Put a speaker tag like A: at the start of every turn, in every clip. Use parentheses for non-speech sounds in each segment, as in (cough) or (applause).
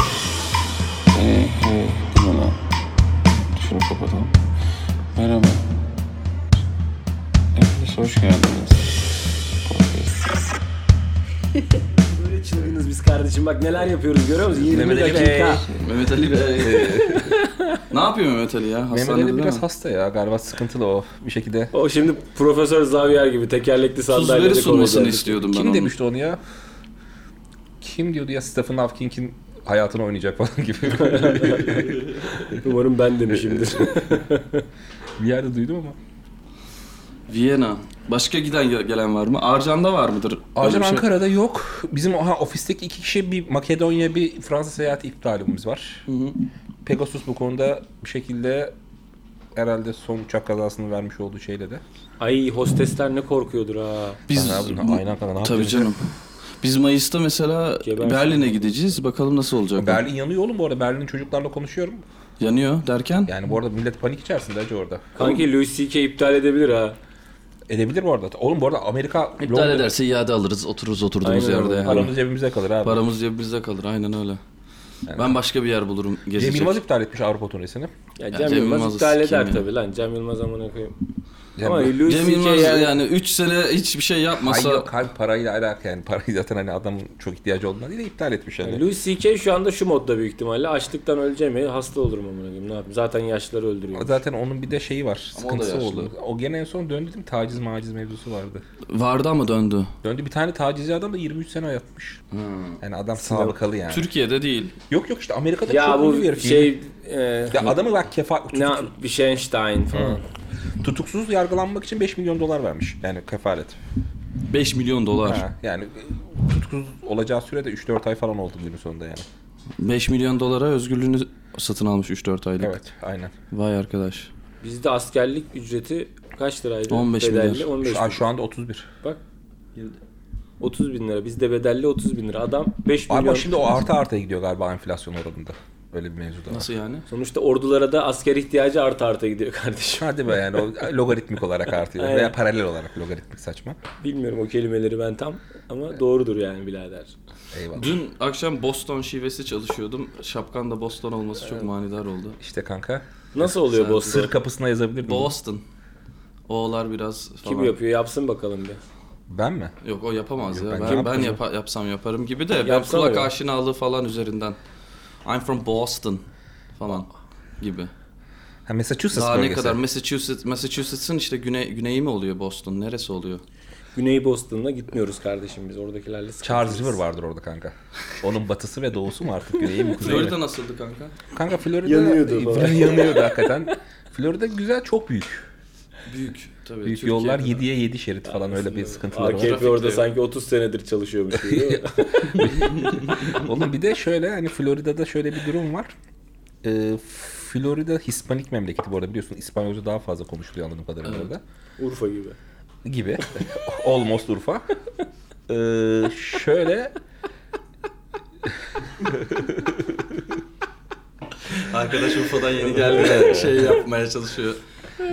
A: Ee, e, hoş geldiniz. Podcast.
B: Böyle çılgınız biz kardeşim bak neler yapıyoruz görüyor musun? 20
C: Mehmet Ali
B: dakika.
C: Bey. Mehmet Ali Bey. ne yapıyor Mehmet Ali ya?
A: Mehmet
C: Hastanede
A: Ali biraz
C: değil mi?
A: hasta ya galiba sıkıntılı o bir şekilde.
B: O şimdi Profesör Xavier gibi tekerlekli sandalyede
C: Tuzları sunmasını
B: konuşacak.
C: istiyordum ben
A: Kim
C: onun.
A: demişti onu ya? Kim diyordu ya Stephen Hawking'in hayatını oynayacak falan gibi.
C: (laughs)
B: Umarım ben demişimdir.
A: bir yerde duydum ama.
C: Viyana. Başka giden gel- gelen var mı? Arcan'da var mıdır? Öyle
A: Ayrıca
C: bir şey?
A: Ankara'da yok. Bizim aha, ofisteki iki kişi bir Makedonya bir Fransa seyahati iptalimiz var.
C: Hı hı.
A: Pegasus bu konuda bir şekilde herhalde son uçak kazasını vermiş olduğu şeyle de.
B: (laughs) Ay hostesler ne korkuyordur ha.
C: Biz
A: Ana buna aynen kadar ne
C: Tabii
A: yapıyorsun?
C: canım. Biz Mayıs'ta mesela
B: Gebersin.
C: Berlin'e gideceğiz. Bakalım nasıl olacak.
A: Berlin yanıyor oğlum bu arada. Berlin'in çocuklarla konuşuyorum.
C: Yanıyor derken
A: Yani bu arada millet panik içerisinde acı orada.
B: Kanki Louis C.K. iptal edebilir ha.
A: Edebilir bu arada. Oğlum bu arada Amerika
C: iptal
A: Londra-
C: ederse iade alırız. Otururuz oturduğumuz
B: Aynen
C: yerde.
B: öyle.
C: Yani.
A: Paramız cebimize kalır abi.
C: Paramız cebimizde kalır. Aynen öyle. Ben başka bir yer bulurum
A: Cem
C: gezecek.
A: Yılmaz iptal etmiş Avrupa turnesini.
B: Ya Cem,
C: Cem
B: Yılmaz,
C: Yılmaz'ı
B: iptal
C: sikeyim
B: eder
C: ya.
B: tabii lan. Cem Yılmaz amına koyayım.
A: Cem
B: Ama
A: Yılmaz-
B: Louis
C: Cem
B: C.K.
C: Yılmaz
B: yani,
C: yani 3 sene hiçbir şey
A: Hayır
C: yapmasa
A: yok abi parayla alakalı yani parayı zaten hani adamın çok ihtiyacı olduğundan değil de iptal etmiş yani.
B: Louis C.K. şu anda şu modda büyük ihtimalle açlıktan öleceğim ya hasta olurum amına koyayım ne yapayım zaten yaşlıları öldürüyor.
A: Zaten onun bir de şeyi var.
C: Ama o da
A: sıkıntısı
C: yaşlı.
A: oldu. O gene en son döndü değil mi? Taciz maciz mevzusu vardı.
C: vardı ama döndü.
A: Döndü bir tane tacizci adam da 23 sene yatmış. Yani adam sağlıkalı yani.
C: Türkiye'de değil.
A: Yok yok işte Amerika'da
B: Ya
A: çok
B: bu
A: ünlü bir herif.
B: şey e,
A: Ya adamı bak kefa
B: ne bir Einstein falan.
A: tutuksuz yargılanmak için 5 milyon dolar vermiş. Yani kefalet.
C: 5 milyon dolar.
A: Ha, yani tutuksuz olacağı sürede 3-4 ay falan oldu günün sonunda yani.
C: 5 milyon dolara özgürlüğünü satın almış 3-4 aylık.
A: Evet aynen.
C: Vay arkadaş.
B: Bizde askerlik ücreti kaç liraydı?
C: 15
B: bedelli
C: milyar.
B: 15
A: Şu,
B: bin.
A: ay şu anda 31.
B: Bak 30 bin lira. Bizde bedelli 30 bin lira. Adam 5
A: Abi
B: milyon.
A: bak şimdi o artı artıya gidiyor galiba enflasyon oranında. Öyle bir mevzu da var.
C: Nasıl yani?
B: Sonuçta ordulara da asker ihtiyacı artı arta gidiyor (laughs) kardeşim.
A: Hadi be yani o logaritmik olarak artıyor.
B: Aynen.
A: Veya paralel olarak logaritmik saçma.
B: Bilmiyorum o kelimeleri ben tam ama doğrudur yani birader.
A: Eyvallah.
C: Dün akşam Boston şivesi çalışıyordum. Şapkan da Boston olması çok manidar oldu.
A: İşte kanka.
B: Nasıl oluyor
C: Sen-
B: Boston?
A: Sır kapısına yazabilir miyim?
C: Boston. O'lar biraz falan.
B: Kim yapıyor? Yapsın bakalım bir.
A: Ben mi?
C: Yok o yapamaz
A: Yok,
C: ya.
A: ben
C: Ben,
A: kim
C: ben, yapa- yapsam yaparım gibi de. Ben
B: Yapsana
C: kulak
B: ya.
C: aşinalığı falan üzerinden. I'm from Boston falan gibi.
A: Ha, Massachusetts
C: Daha ne
A: bölgesi.
C: kadar Massachusetts, Massachusetts'ın işte güney, güneyi mi oluyor Boston? Neresi oluyor?
B: Güney Boston'la gitmiyoruz kardeşim biz. Oradakilerle sıkıntı.
A: Charles River vardır orada kanka. Onun batısı ve doğusu mu artık güneyi mi kuzeyi mi?
C: Florida nasıldı kanka?
A: Kanka Florida
B: Yanıyordu
A: Florida yanıyordu hakikaten. Florida güzel çok büyük.
C: Büyük. Tabii.
A: Büyük
C: Türkiye'de
A: yollar
C: de.
A: 7'ye 7 şerit falan öyle bir sıkıntıları var.
B: AKP orada
C: Trafikte.
B: sanki 30 senedir çalışıyormuş gibi.
A: (laughs)
B: değil mi?
A: Oğlum bir de şöyle hani Florida'da şöyle bir durum var. Ee, Florida Hispanik memleketi bu arada biliyorsun İspanyolca daha fazla konuşuluyor anladığım kadarıyla orada.
B: Urfa gibi.
A: Gibi. (laughs) Almost Urfa. Ee, şöyle
C: Arkadaş Urfa'dan yeni geldi de şey yapmaya çalışıyor.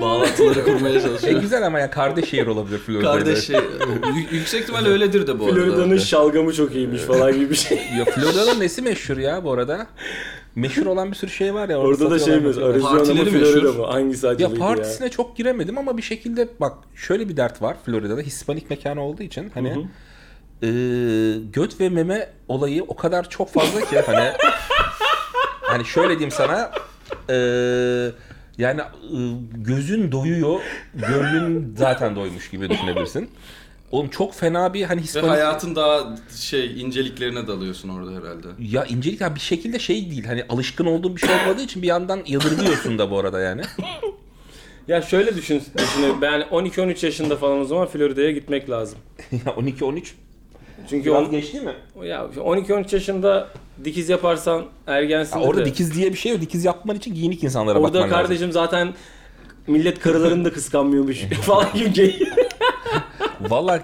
C: Bağlantıları kurmaya
A: e,
C: çalışıyor.
A: güzel ama ya kardeş şehir olabilir Florida'da.
C: Kardeş
B: (laughs)
C: şey, yü- yüksek ihtimal öyledir de bu arada.
B: Florida'nın şalgamı çok iyiymiş falan gibi bir
A: (laughs)
B: şey.
A: Ya Florida'nın nesi meşhur ya bu arada? Meşhur olan bir sürü şey var ya.
B: Orada da şey
A: satıyorlar,
B: mi?
A: satıyorlar.
B: Arizona mı
C: Partileri
B: Florida
C: meşhur.
B: mı? Hangisi acılıydı
A: Ya
B: ya?
A: partisine çok giremedim ama bir şekilde bak şöyle bir dert var Florida'da Hispanik mekanı olduğu için hani eee, göt ve meme olayı o kadar çok fazla ki hani hani şöyle diyeyim sana eee, yani eee, gözün doyuyor gönlün zaten doymuş gibi düşünebilirsin. Oğlum çok fena bir hani
C: Ve
A: Hispanik
C: hayatın daha şey inceliklerine dalıyorsun orada herhalde.
A: ya incelik ya bir şekilde şey değil hani alışkın olduğun bir şey olmadığı için bir yandan yadırgıyorsun da bu arada yani. (laughs)
B: Ya şöyle düşün, düşünün. Ben 12-13 yaşında falan o zaman Florida'ya gitmek lazım.
A: ya 12 13
B: Çünkü
A: biraz
B: on,
A: geçti mi?
B: ya 12-13 yaşında dikiz yaparsan ergensin.
A: Ya orada
B: de.
A: dikiz diye bir şey yok. Dikiz yapman için giyinik insanlara
B: Orada
A: bakman
B: kardeşim zaten millet karılarını da
A: (laughs)
B: kıskanmıyormuş falan gibi gay.
A: lazım. Valla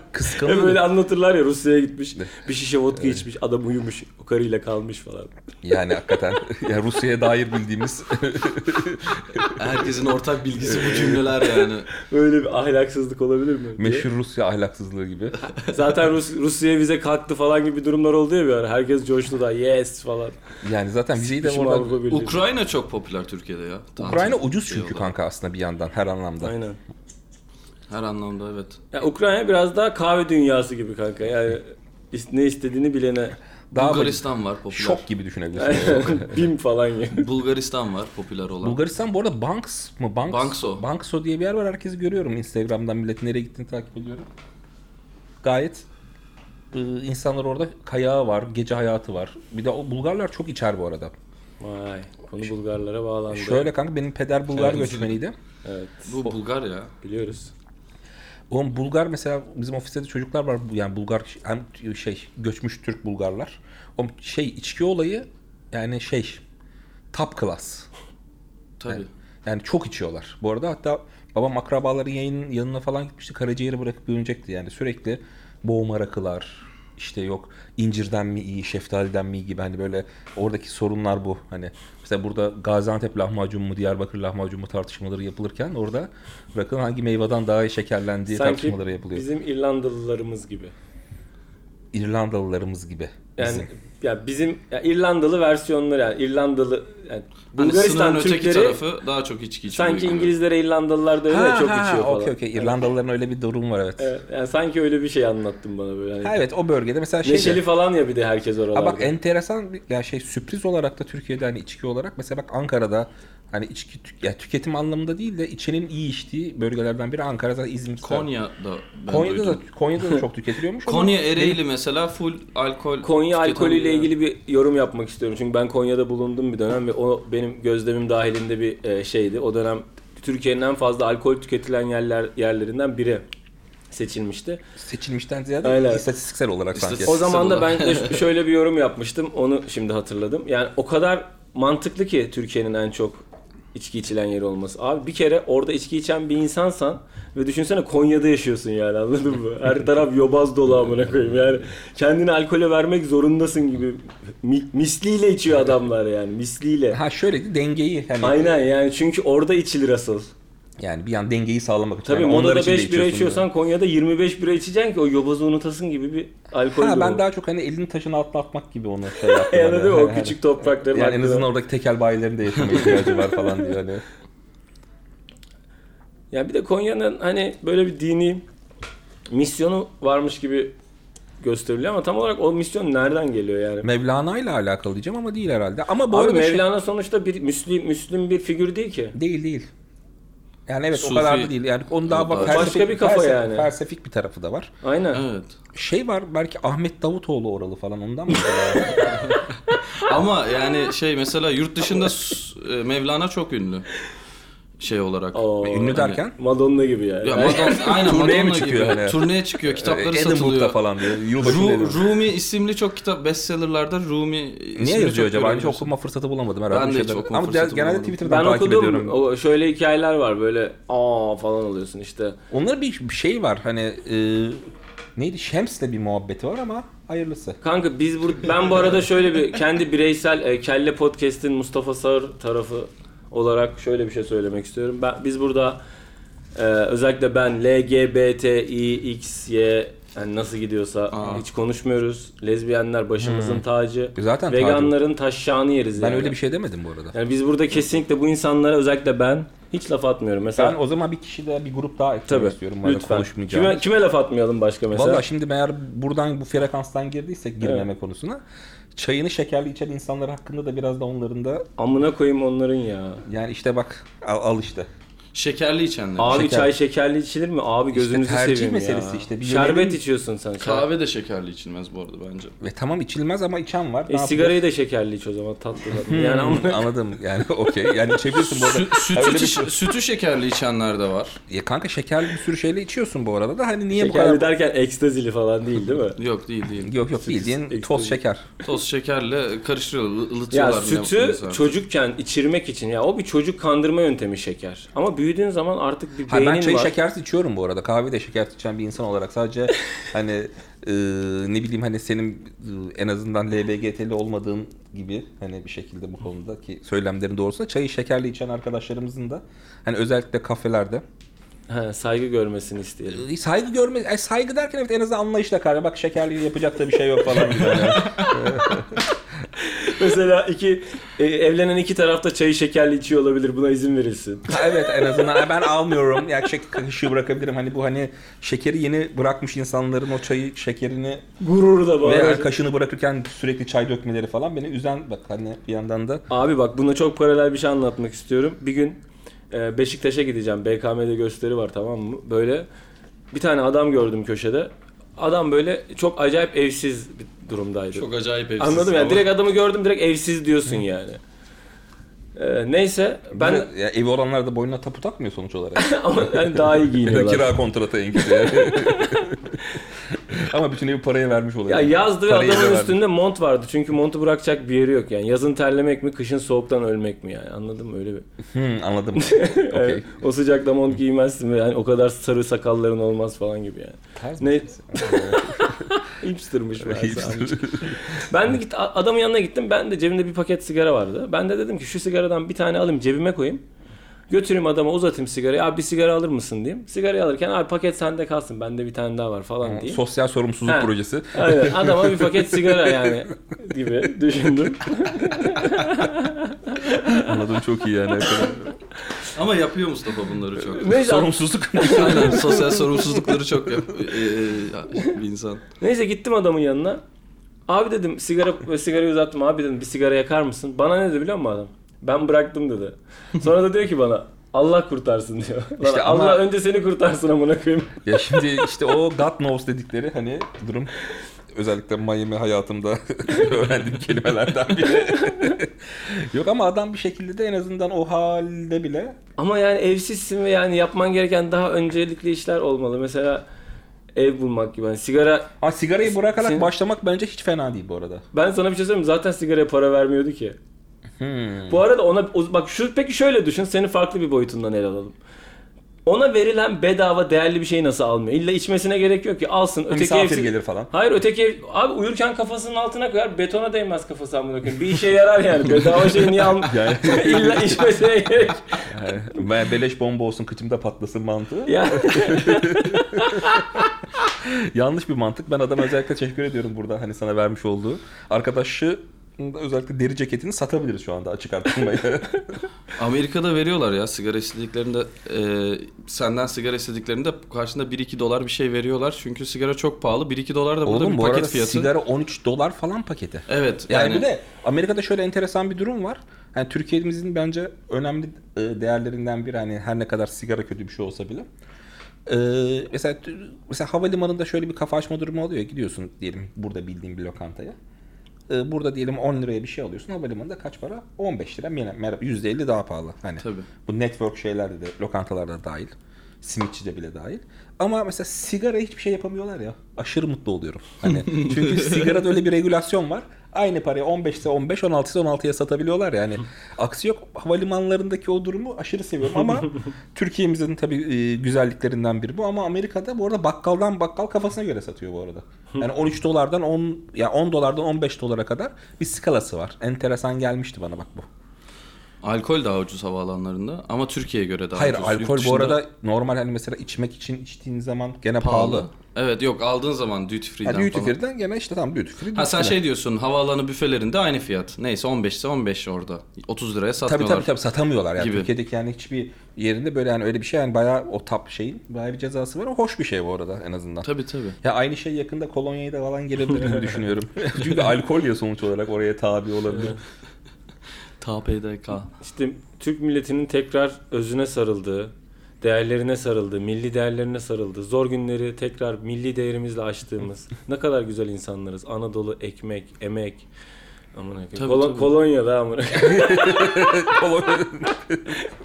B: (laughs)
A: kıskanıyor.
B: Böyle anlatırlar ya Rusya'ya gitmiş. Bir şişe vodka içmiş. Adam uyumuş. O karıyla kalmış falan.
A: Yani hakikaten.
B: (laughs)
A: ya Rusya'ya dair bildiğimiz
C: Herkesin ortak bilgisi
A: (laughs)
C: bu cümleler yani.
B: Öyle bir ahlaksızlık olabilir mi? diye.
A: meşhur Rusya ahlaksızlığı gibi.
B: (laughs) Zaten Rus, Rusya'ya vize kalktı falan gibi durumlar oldu ya bir ara. Herkes coştu da yes falan.
A: Yani zaten vizeyi de
B: Şimdi
A: orada...
B: Avrupa Birliği.
C: Ukrayna çok popüler Türkiye'de ya. Tatil
A: Ukrayna ucuz
C: şey
A: çünkü
C: olarak.
A: kanka aslında bir yandan her anlamda.
B: Aynen.
C: Her anlamda evet.
B: Ya Ukrayna biraz daha kahve dünyası gibi kanka. Yani is- ne istediğini bilene. (laughs)
A: Daha
C: Bulgaristan var popüler.
A: böyle şok gibi düşünebilirsin.
B: Bim falan gibi.
C: Bulgaristan var popüler olan.
A: Bulgaristan bu arada Banks mı? Banks,
C: Bankso.
A: Bankso diye bir yer var. Herkesi görüyorum Instagram'dan. Millet nereye gittiğini takip ediyorum. Gayet e, insanlar orada kayağı var, gece hayatı var. Bir de o Bulgarlar çok içer bu arada.
B: Vay. Konu Bulgarlara bağlandı.
A: Şöyle kanka benim peder Bulgar
C: Evet.
A: göçmeniydi.
B: Evet.
C: Bu Bulgar ya.
B: Biliyoruz.
A: Oğlum Bulgar mesela bizim ofiste de çocuklar var. Bu- Yani Bulgar hem şey göçmüş Türk Bulgarlar. Oğlum şey içki olayı yani şey top class.
C: Tabii.
A: Yani çok içiyorlar. Bu arada hatta babam akrabaların yayının yanına falan gitmişti. Karaciğeri bırakıp dönecekti yani. Sürekli boğma rakılar. işte yok incirden mi iyi, şeftaliden mi iyi gibi hani böyle oradaki sorunlar bu. Hani mesela burada Gaziantep lahmacun mu, Diyarbakır lahmacun mu tartışmaları yapılırken orada rakının hangi meyveden daha iyi şekerlendiği tartışmaları
B: Sanki
A: yapılıyor.
B: bizim İrlandalılarımız gibi.
A: İrlandalılarımız gibi.
B: Yani
A: Bizim.
B: ya bizim ya İrlandalı versiyonları yani İrlandalı yani
C: Hani
B: Bulgaristan
C: sınırın öteki
B: Türkleri
C: tarafı daha çok içki içiyor.
B: sanki
C: Bulgar.
B: İngilizlere İrlandalılar da öyle ya, çok içiyor falan.
A: Okey okey. İrlandalıların öyle bir durum var evet. Evet,
B: Evet, yani sanki öyle bir şey anlattın bana böyle. Hani
A: o bölgede mesela şey de-
B: Neşeli falan ya bir de herkes oralarda.
A: Ha bak enteresan bir yani şey sürpriz olarak da Türkiye'de hani içki olarak mesela bak Ankara'da hani içki tü- ya tüketim anlamında değil de içenin iyi içtiği bölgelerden biri Ankara zaten İzmir.
C: Konya'da ben
A: Konya'da
C: duydum.
A: da
B: (laughs)
A: Konya'da da çok tüketiliyormuş. ama
C: Konya Ereğli mesela full alkol.
B: Konya
C: tüketen bir
B: alkolüyle
C: yer.
B: ilgili bir yorum yapmak istiyorum. Çünkü ben Konya'da bulundum bir dönem ve o benim gözlemim dahilinde bir e, şeydi. O dönem Türkiye'nin en fazla alkol tüketilen yerler yerlerinden biri seçilmişti.
A: seçilmişten ziyade
B: Aynen.
A: istatistiksel olarak sanki.
B: O
C: İstatistik-
B: zaman da ben
C: olarak.
B: de ş- şöyle bir yorum yapmıştım. Onu şimdi hatırladım. Yani o kadar mantıklı ki Türkiye'nin en çok içki içilen yeri olması. Abi bir kere orada içki içen bir insansan ve düşünsene Konya'da yaşıyorsun yani anladın mı? Her taraf yobaz dolu amına koyayım yani. Kendini alkole vermek zorundasın gibi. Mi- misliyle içiyor adamlar yani misliyle.
A: Ha şöyleydi dengeyi hani
B: Aynen yani çünkü orada içilir asıl.
A: yani bir an dengeyi sağlamak için.
B: Tabii
A: yani onlar
B: Moda'da
A: için de
B: 5 bira
A: içiyorsun
B: içiyorsan Konya'da 25 bira içeceksin ki o yobazı unutasın gibi bir alkol
A: diyor. Ha ben
B: durumu.
A: daha çok hani elini taşın altına atmak gibi onu
B: (laughs)
A: şey yaptım.
B: Yani değil mi?
A: Hani-
B: O
A: hani-
B: küçük toprakların
A: Yani en
B: hakkında.
A: azından oradaki tekel bayilerinde yaşama ihtiyacı var falan
B: (laughs)
A: diyor hani.
B: Ya bir de Konya'nın hani böyle bir dini misyonu varmış gibi gösteriliyor ama tam olarak o misyon nereden geliyor yani?
A: Mevlana ile alakalı diyeceğim ama değil herhalde. Ama bu
B: Abi
A: arada şey-
B: Mevlana sonuçta bir Müslüm, Müslüm bir figür değil ki.
A: Değil değil. Yani evet
C: Sufi.
A: o kadar da değil. Yani onun daha bak
C: Başka
B: bir kafa
A: felsefik,
B: yani.
A: felsefik bir tarafı da var.
B: Aynen.
C: Evet.
A: Şey var belki Ahmet Davutoğlu oralı falan ondan mı?
C: (laughs) Ama yani şey mesela yurt dışında s- e, Mevlana çok ünlü. Şey olarak.
B: Oo,
A: E, Ünlü derken
B: Madonna gibi yani.
C: Ya
A: (laughs)
C: Madonna, aynen
A: Turneye mi
C: Madonna gibi.
A: çıkıyor hani?
C: Turneye çıkıyor, kitapları
A: Edinburgh'da
C: satılıyor.
A: falan diyor. Yılbaşı
C: Ru-
A: Ru,
C: Rumi isimli çok kitap bestsellerlarda Rumi ismini
A: Niye yazıyor
C: çok
A: acaba? Ben hiç
C: görebiliyorsun.
A: okuma fırsatı bulamadım herhalde.
C: Ben de
A: bir
C: hiç
A: şeyler.
C: okuma
A: Ama
C: fırsatı
A: genelde
C: bulamadım.
A: Twitter'dan
B: ben
A: takip
B: okudum.
A: ediyorum.
B: O, şöyle hikayeler var böyle aa falan oluyorsun işte.
A: Onların bir şey var hani e, neydi Şems'le bir muhabbeti var ama hayırlısı.
B: Kanka biz bur ben bu arada şöyle bir kendi bireysel e, kelle podcast'in Mustafa Sağır tarafı olarak şöyle bir şey söylemek istiyorum. Ben biz burada e, özellikle ben LGBTİXY yani nasıl gidiyorsa
C: Aa.
B: hiç konuşmuyoruz. Lezbiyenler başımızın tacı.
A: Hmm. E, Zaten tacı.
B: veganların taşşağını yeriz
A: Ben
B: yani.
A: öyle bir şey demedim bu arada.
B: Yani biz burada kesinlikle bu insanlara özellikle ben hiç laf atmıyorum. Mesela
A: Ben o zaman bir kişi daha bir grup daha eklemek
B: tabii
A: istiyorum. bu arada
B: lütfen
A: konuşmayacağım.
B: kime, kime laf atmayalım başka mesela?
A: Valla şimdi eğer buradan bu frekanstan girdiysek girmeme konusuna çayını şekerli içen insanlar hakkında da biraz da onların da
B: Amına koyayım onların ya.
A: yani işte bak al, al işte.
C: Şekerli içenler.
B: Abi
A: Şeker.
B: çay şekerli içilir mi? Abi gözünüzü
A: tercih
B: seveyim
A: meselesi
B: ya.
A: işte. Bir
B: Şerbet E,
A: yönelim-
B: içiyorsun sen. Kahve.
C: Kahve de şekerli içilmez bu arada bence.
A: Ve tamam içilmez ama içen var.
B: E,
A: Ne
B: sigarayı da şekerli iç o zaman tatlı
A: Hmm.
B: tatlı. yani
A: (laughs)
B: ama
A: yapacağız? Anladım yani
B: (laughs)
A: okey yani içebilirsin bu arada.
C: Sü- sütü,
A: Öyle bir
C: çi-
B: şey.
C: sütü şekerli içenler de var.
A: Ya kanka şekerli bir sürü şeyle içiyorsun bu arada da hani niye
B: şekerli
A: bu kadar...
B: derken ekstazili falan değil değil mi?
C: Yok değil değil.
A: Yok yok bildiğin toz şeker.
C: Toz şekerle karıştırıyorlar, ı-
B: ya
C: ılıtıyorlar. bile
B: sütü
C: mesela.
B: çocukken içirmek için ya o bir çocuk kandırma yöntemi şeker. Ama büyüdüğün zaman artık bir
A: Ha,
B: beynin
A: ben çayı
B: var.
A: şekersiz içiyorum bu arada. Kahve de şekersiz içen bir insan
B: (laughs)
A: olarak sadece hani e, ne bileyim hani senin e, en azından LBGT'li olmadığın gibi hani bir şekilde bu konudaki söylemlerin doğrusunda çayı şekerli içen arkadaşlarımızın da hani özellikle kafelerde
B: He, saygı görmesini isteyelim. (laughs)
A: e, saygı görme e, saygı
B: (laughs)
A: derken evet en azından anlayışla karşı bak şekerli yapacak da bir şey yok falan gibi. hani.
B: Mesela iki e, evlenen iki tarafta çayı şekerli içiyor olabilir. Buna izin verilsin.
A: evet en azından ben almıyorum. Ya şey, kaşığı bırakabilirim. Hani bu hani şekeri yeni bırakmış insanların o çayı şekerini
B: Gurur da
A: ve
B: bağırır.
A: yani kaşığını bırakırken sürekli çay dökmeleri falan beni üzen bak hani bir yandan da
B: Abi bak buna çok paralel bir şey anlatmak istiyorum. Bir gün e, Beşiktaş'a gideceğim. BKM'de gösteri var tamam mı? Böyle bir tane adam gördüm köşede. Adam böyle çok acayip evsiz bir durumdaydı.
C: Çok acayip evsiz.
B: Anladım ya.
C: ama.
B: Direkt adamı gördüm direkt evsiz diyorsun yani. E, neyse ben
A: ben ya, evi olanlar da boynuna tapu takmıyor
B: (laughs)
A: sonuç olarak.
B: ama yani daha iyi giyiniyorlar.
A: Kira kontratı en kötü yani. (laughs) Ama bütün evi paraya vermiş oluyor.
B: Ya yazdı ve
A: Parayı da
B: adamın
A: vermiş.
B: üstünde mont vardı. Çünkü montu bırakacak bir yeri yok yani. Yazın terlemek mi, kışın soğuktan ölmek mi yani? Anladın mı öyle bir? (laughs)
A: Hmm, anladım.
B: Yani
A: Okey.
B: o sıcakta mont giymezsin ve yani o kadar sarı sakalların olmaz falan gibi yani.
A: Tarz
B: Ne-
A: meselesi.
B: (laughs) Hipster'mış meğerse
A: Hipster.
B: amca. Ben de git a- adamın yanına gittim. Ben de cebimde bir paket sigara vardı. Ben de dedim ki şu sigaradan bir tane alayım cebime koyayım. Götüreyim adama uzatayım sigarayı. Abi bir sigara alır mısın diyeyim. Sigarayı alırken abi paket sende kalsın. Bende bir tane daha var falan diyeyim.
A: Sosyal sorumsuzluk
B: Ha.
A: projesi.
B: Aynen. Adama bir paket sigara yani gibi
A: (laughs)
B: düşündüm.
A: Anladım çok iyi yani.
B: (laughs)
C: Ama yapıyor Mustafa bunları çok.
B: Neyse,
A: sorumsuzluk.
C: (laughs) Aynen sosyal sorumsuzlukları çok yap- e, e, bir insan.
B: Neyse gittim adamın yanına. Abi dedim sigara ve sigarayı uzattım. Abi dedim bir sigara yakar mısın? Bana ne dedi biliyor musun adam? Ben bıraktım dedi. Sonra da diyor ki bana Allah kurtarsın diyor. Lan
A: İşte ama-
B: Allah önce seni kurtarsın amına koyayım.
A: ya şimdi işte o God knows dedikleri hani durum özellikle Miami hayatımda (laughs) öğrendiğim kelimelerden biri. (laughs) Yok ama adam bir şekilde de en azından o halde bile
B: Ama yani evsizsin ve yani yapman gereken daha öncelikli işler olmalı. Mesela ev bulmak gibi. Yani sigara
A: Aa, sigarayı bırakarak
B: Sin-
A: başlamak bence hiç fena değil bu arada.
B: ben sana bir şey söyleyeyim mi? zaten sigaraya para vermiyordu ki. Bu arada ona o- bak şu peki şöyle düşün seni farklı bir boyutundan ele alalım. Ona verilen bedava değerli bir şeyi nasıl almıyor? İlla içmesine gerek yok ki alsın. Öteki
A: Hani Misafir
B: evsiz-
A: gelir falan.
B: Hayır öteki ev, abi uyurken kafasının altına koyar betona değmez kafası amına koyayım. Bir işe yarar yani. Bedava şey niye alm?
A: (laughs) Yani-
B: (laughs) İlla içmesine gerek.
A: Yani ben beleş bomba olsun kıçımda patlasın mantığı.
B: Ya
A: Yanlış bir mantık. Ben adama özellikle teşekkür ediyorum burada hani sana vermiş olduğu. Arkadaşı özellikle deri ceketini satabiliriz şu anda açık artırmayla.
C: Amerika'da veriyorlar ya sigara istediklerinde e, senden sigara istediklerinde karşında 1-2 dolar bir şey veriyorlar. Çünkü sigara çok pahalı. 1-2 dolar da burada
A: Oğlum
C: bir
A: bu
C: paket
A: arada
C: fiyatı.
A: sigara 13 dolar falan paketi.
C: Evet.
A: Yani,
C: Yani,
A: bir de Amerika'da şöyle enteresan bir durum var. Hani Türkiye'mizin bence önemli e, değerlerinden biri hani her ne kadar sigara kötü bir şey olsa bile. E, mesela mesela havalimanında şöyle bir kafa açma durumu oluyor. Gidiyorsun diyelim burada bildiğin bir lokantaya. E, burada diyelim 10 liraya bir şey alıyorsun. Havalimanında kaç para? 15 lira. Yani mer- %50 daha pahalı. Hani
C: Tabii.
A: bu network şeylerde de lokantalarda dahil. Simitçi de bile dahil. Ama mesela sigara hiçbir şey yapamıyorlar ya. Aşırı mutlu oluyorum. Hani çünkü sigarada öyle bir regulasyon var. Aynı parayı 15 ise 15, 16 ise 16'ya satabiliyorlar yani. Aksi yok. Havalimanlarındaki o durumu aşırı seviyorum ama Türkiye'mizin tabii e, güzelliklerinden biri bu ama Amerika'da bu arada bakkaldan bakkal kafasına göre satıyor bu arada. Yani 13 dolardan 10 ya 10 dolardan 15 dolara kadar bir skalası var. Enteresan gelmişti bana bak bu.
C: alkol daha ucuz havaalanlarında ama Türkiye'ye göre daha
A: Hayır
C: ucuz. Yurt
A: alkol
C: dışında
A: bu arada normal hani mesela içmek için içtiğin zaman gene pahalı.
C: pahalı. Evet yok aldığın zaman duty free'den
A: Yani duty
C: falan.
A: free'den gene işte tam duty free.
C: Ha sen
A: duty free.
C: şey diyorsun havaalanı büfelerinde aynı fiyat. Neyse 15 ise 15 orada. 30 liraya
A: Tabii
C: satmıyorlar.
A: tabii tabii satamıyorlar yani.
C: Gibi.
A: Türkiye'deki yani hiçbir yerinde böyle yani öyle bir şey yani bayağı o tap şeyin bayağı bir cezası var. O hoş bir şey bu arada en azından.
C: Tabii tabii.
A: Ya aynı şey yakında kolonyayı da falan
C: (laughs)
A: gelebilir gibi düşünüyorum. Çünkü alkol ya sonuç olarak oraya tabi
C: (laughs)
A: olabilir.
C: TPDK.
B: işte Türk milletinin tekrar özüne sarıldığı, değerlerine sarıldığı, milli değerlerine sarıldığı, zor günleri tekrar milli değerimizle
C: (laughs)
B: açtığımız ne kadar güzel insanlarız. Anadolu ekmek, emek. Amına
C: Tabii,
B: koyayım. Kolon-
C: tabii.
B: Kolonya da amına koyayım. (laughs)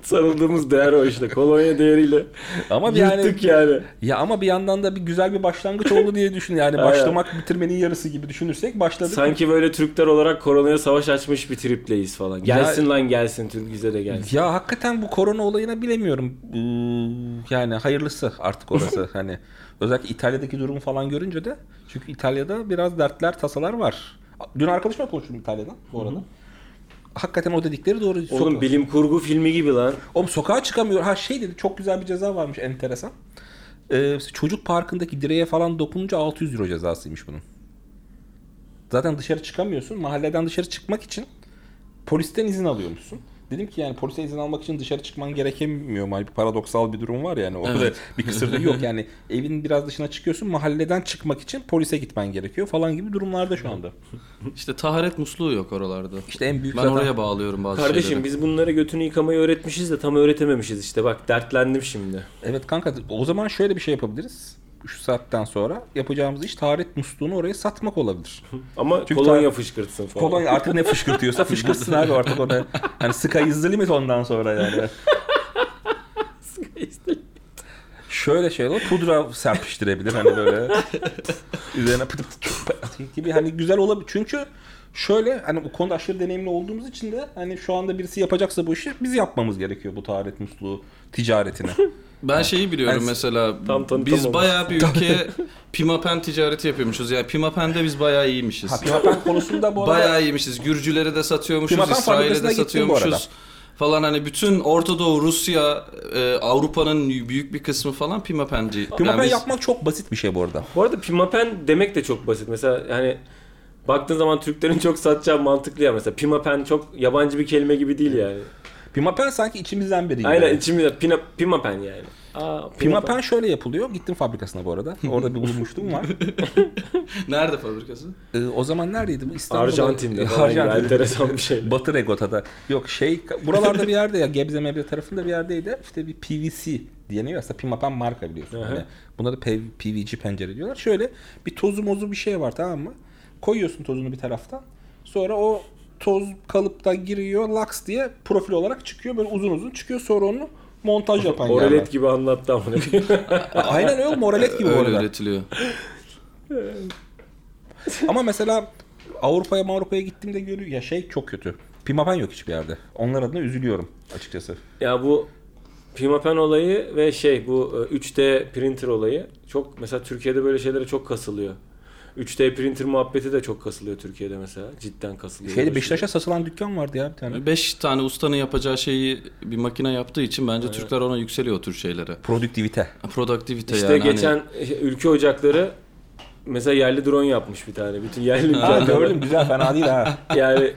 B: Sarıldığımız değer o işte. Kolonya değeriyle
A: ama bir yani
B: yırttık yani.
A: ya ama bir yandan da bir güzel bir başlangıç oldu diye düşün yani
B: Aynen.
A: başlamak bitirmenin yarısı gibi düşünürsek başladık.
B: Sanki böyle Türkler olarak koronaya savaş açmış bir tripleyiz falan. Gelsin
A: Ya-
B: lan gelsin Türk bize de gelsin.
A: Ya hakikaten bu korona olayına bilemiyorum. Ee, Yani hayırlısı artık orası hani. Özellikle İtalya'daki durumu falan görünce de çünkü İtalya'da biraz dertler, tasalar var. Dün arkadaşımla konuştum İtalya'dan bu arada. Hakikaten o dedikleri doğru.
B: Oğlum
A: Soka-
B: bilim kurgu filmi gibi lan.
A: Oğlum sokağa çıkamıyor. Ha şey dedi çok güzel bir ceza varmış enteresan. Ee, çocuk parkındaki direğe falan dokununca 600 euro cezasıymış bunun. Zaten dışarı çıkamıyorsun. Mahalleden dışarı çıkmak için polisten izin alıyormuşsun. Dedim ki yani polise izin almak için dışarı çıkman gerekemiyor mu? Hani bir paradoksal bir durum var yani. Orada bir kısırda yok yani. Evin biraz dışına çıkıyorsun mahalleden çıkmak için polise gitmen gerekiyor falan gibi durumlarda şu anda.
C: İşte taharet musluğu yok oralarda.
A: İşte en büyük
C: ben
A: zaten-
C: oraya bağlıyorum bazı
B: Kardeşim
C: şeyleri.
B: biz bunlara götünü yıkamayı öğretmişiz de tam öğretememişiz işte. Bak dertlendim şimdi.
A: Evet kanka o zaman şöyle bir şey yapabiliriz. Şu saatten sonra yapacağımız iş taharet musluğunu oraya satmak olabilir.
B: Ama
A: Çünkü
B: kolonya
A: tar-
B: fışkırtsın falan.
A: Kolonya artık ne fışkırtıyorsa fışkırsın abi artık orada. Hani sky is the limit ondan sonra yani. Şöyle şey olur pudra serpiştirebilir hani böyle üzerine pıt pıt pıt gibi hani güzel olabilir. Çünkü şöyle hani bu konuda aşırı deneyimli olduğumuz için de hani şu anda birisi yapacaksa bu işi biz yapmamız gerekiyor bu taharet musluğu ticaretini.
C: Ben şeyi biliyorum
A: Yani-
C: mesela
B: Tam tanı-
C: biz
B: tam (laughs)
C: bayağı bir ülkeye pimapen ticareti yapıyormuşuz. Yani pimapen'de biz bayağı iyiymişiz.
A: Ha, Pimapen konusunda bu arada
C: Bayağı iyiymişiz. Gürcülere de satıyormuşuz,
A: Pimapen
C: İsrail'e
A: fabrikasına
C: de
A: gittim bu arada.
C: satıyormuşuz. Falan hani bütün Orta Doğu, Rusya, e, Avrupa'nın büyük bir kısmı falan pimapenci.
A: Pimapen
C: Yani biz-
A: yapmak çok basit bir şey bu arada.
B: Bu arada pimapen demek de çok basit. Mesela yani baktığın zaman Türklerin (laughs) çok satacağı mantıklı ya mesela. Pimapen çok yabancı bir kelime gibi değil yani.
A: Pimapen sanki içimizden biri gibi.
B: Aynen içimde pina, pimapen yani. Aa,
A: Pimapen şöyle yapılıyor. Gittim fabrikasına bu arada. Orada bir
B: (laughs)
A: bulmuştum var.
C: Nerede fabrikası?
A: Ee, o zaman neredeydi bu? İstanbul'da.
B: Arjantin'de falan gibi
A: Arjantin'de.
B: enteresan bir (laughs) şey.
A: Batı Regota'da. Yok şey buralarda bir yerde ya Gebze Mebze tarafında bir yerdeydi. İşte bir PVC diyeniyor. Aslında Pimapen marka biliyorsun.
B: Aha.
A: Hani buna da P- PVC pencere diyorlar. Şöyle bir tozu mozu bir şey var tamam mı? Koyuyorsun tozunu bir taraftan. Sonra o toz kalıpta giriyor. Laks diye profil olarak çıkıyor. Böyle uzun uzun çıkıyor. Sonra onu montaj yapan yerler.
B: Oralet gibi anlattı ama. (laughs)
A: Aynen öyle moralet gibi bu
C: Öyle (laughs)
A: arada.
C: üretiliyor.
A: Ama mesela Avrupa'ya Avrupa'ya gittiğimde görüyor ya şey çok kötü. Pimapen yok hiçbir yerde. Onlar adına üzülüyorum açıkçası.
B: ya bu pimapen olayı ve şey bu e, 3D printer olayı çok mesela Türkiye'de böyle şeylere çok kasılıyor. 3D printer muhabbeti de çok kasılıyor Türkiye'de mesela. Cidden kasılıyor.
A: Şeyde
B: Böyle şey-
A: Beşiktaş'a satılan dükkan vardı ya bir tane.
C: 5 tane ustanın yapacağı şeyi bir makine yaptığı için bence Türkler ona yükseliyor o tür şeylere.
A: Produktivite.
C: Produktivite
B: İşte
C: yani. hani-
B: geçen ülke ocakları mesela yerli drone yapmış bir tane. Bütün yerli
C: (laughs)
A: Ha,
B: ülkeler.
A: gördüm güzel fena değil (laughs) ha.
B: Yani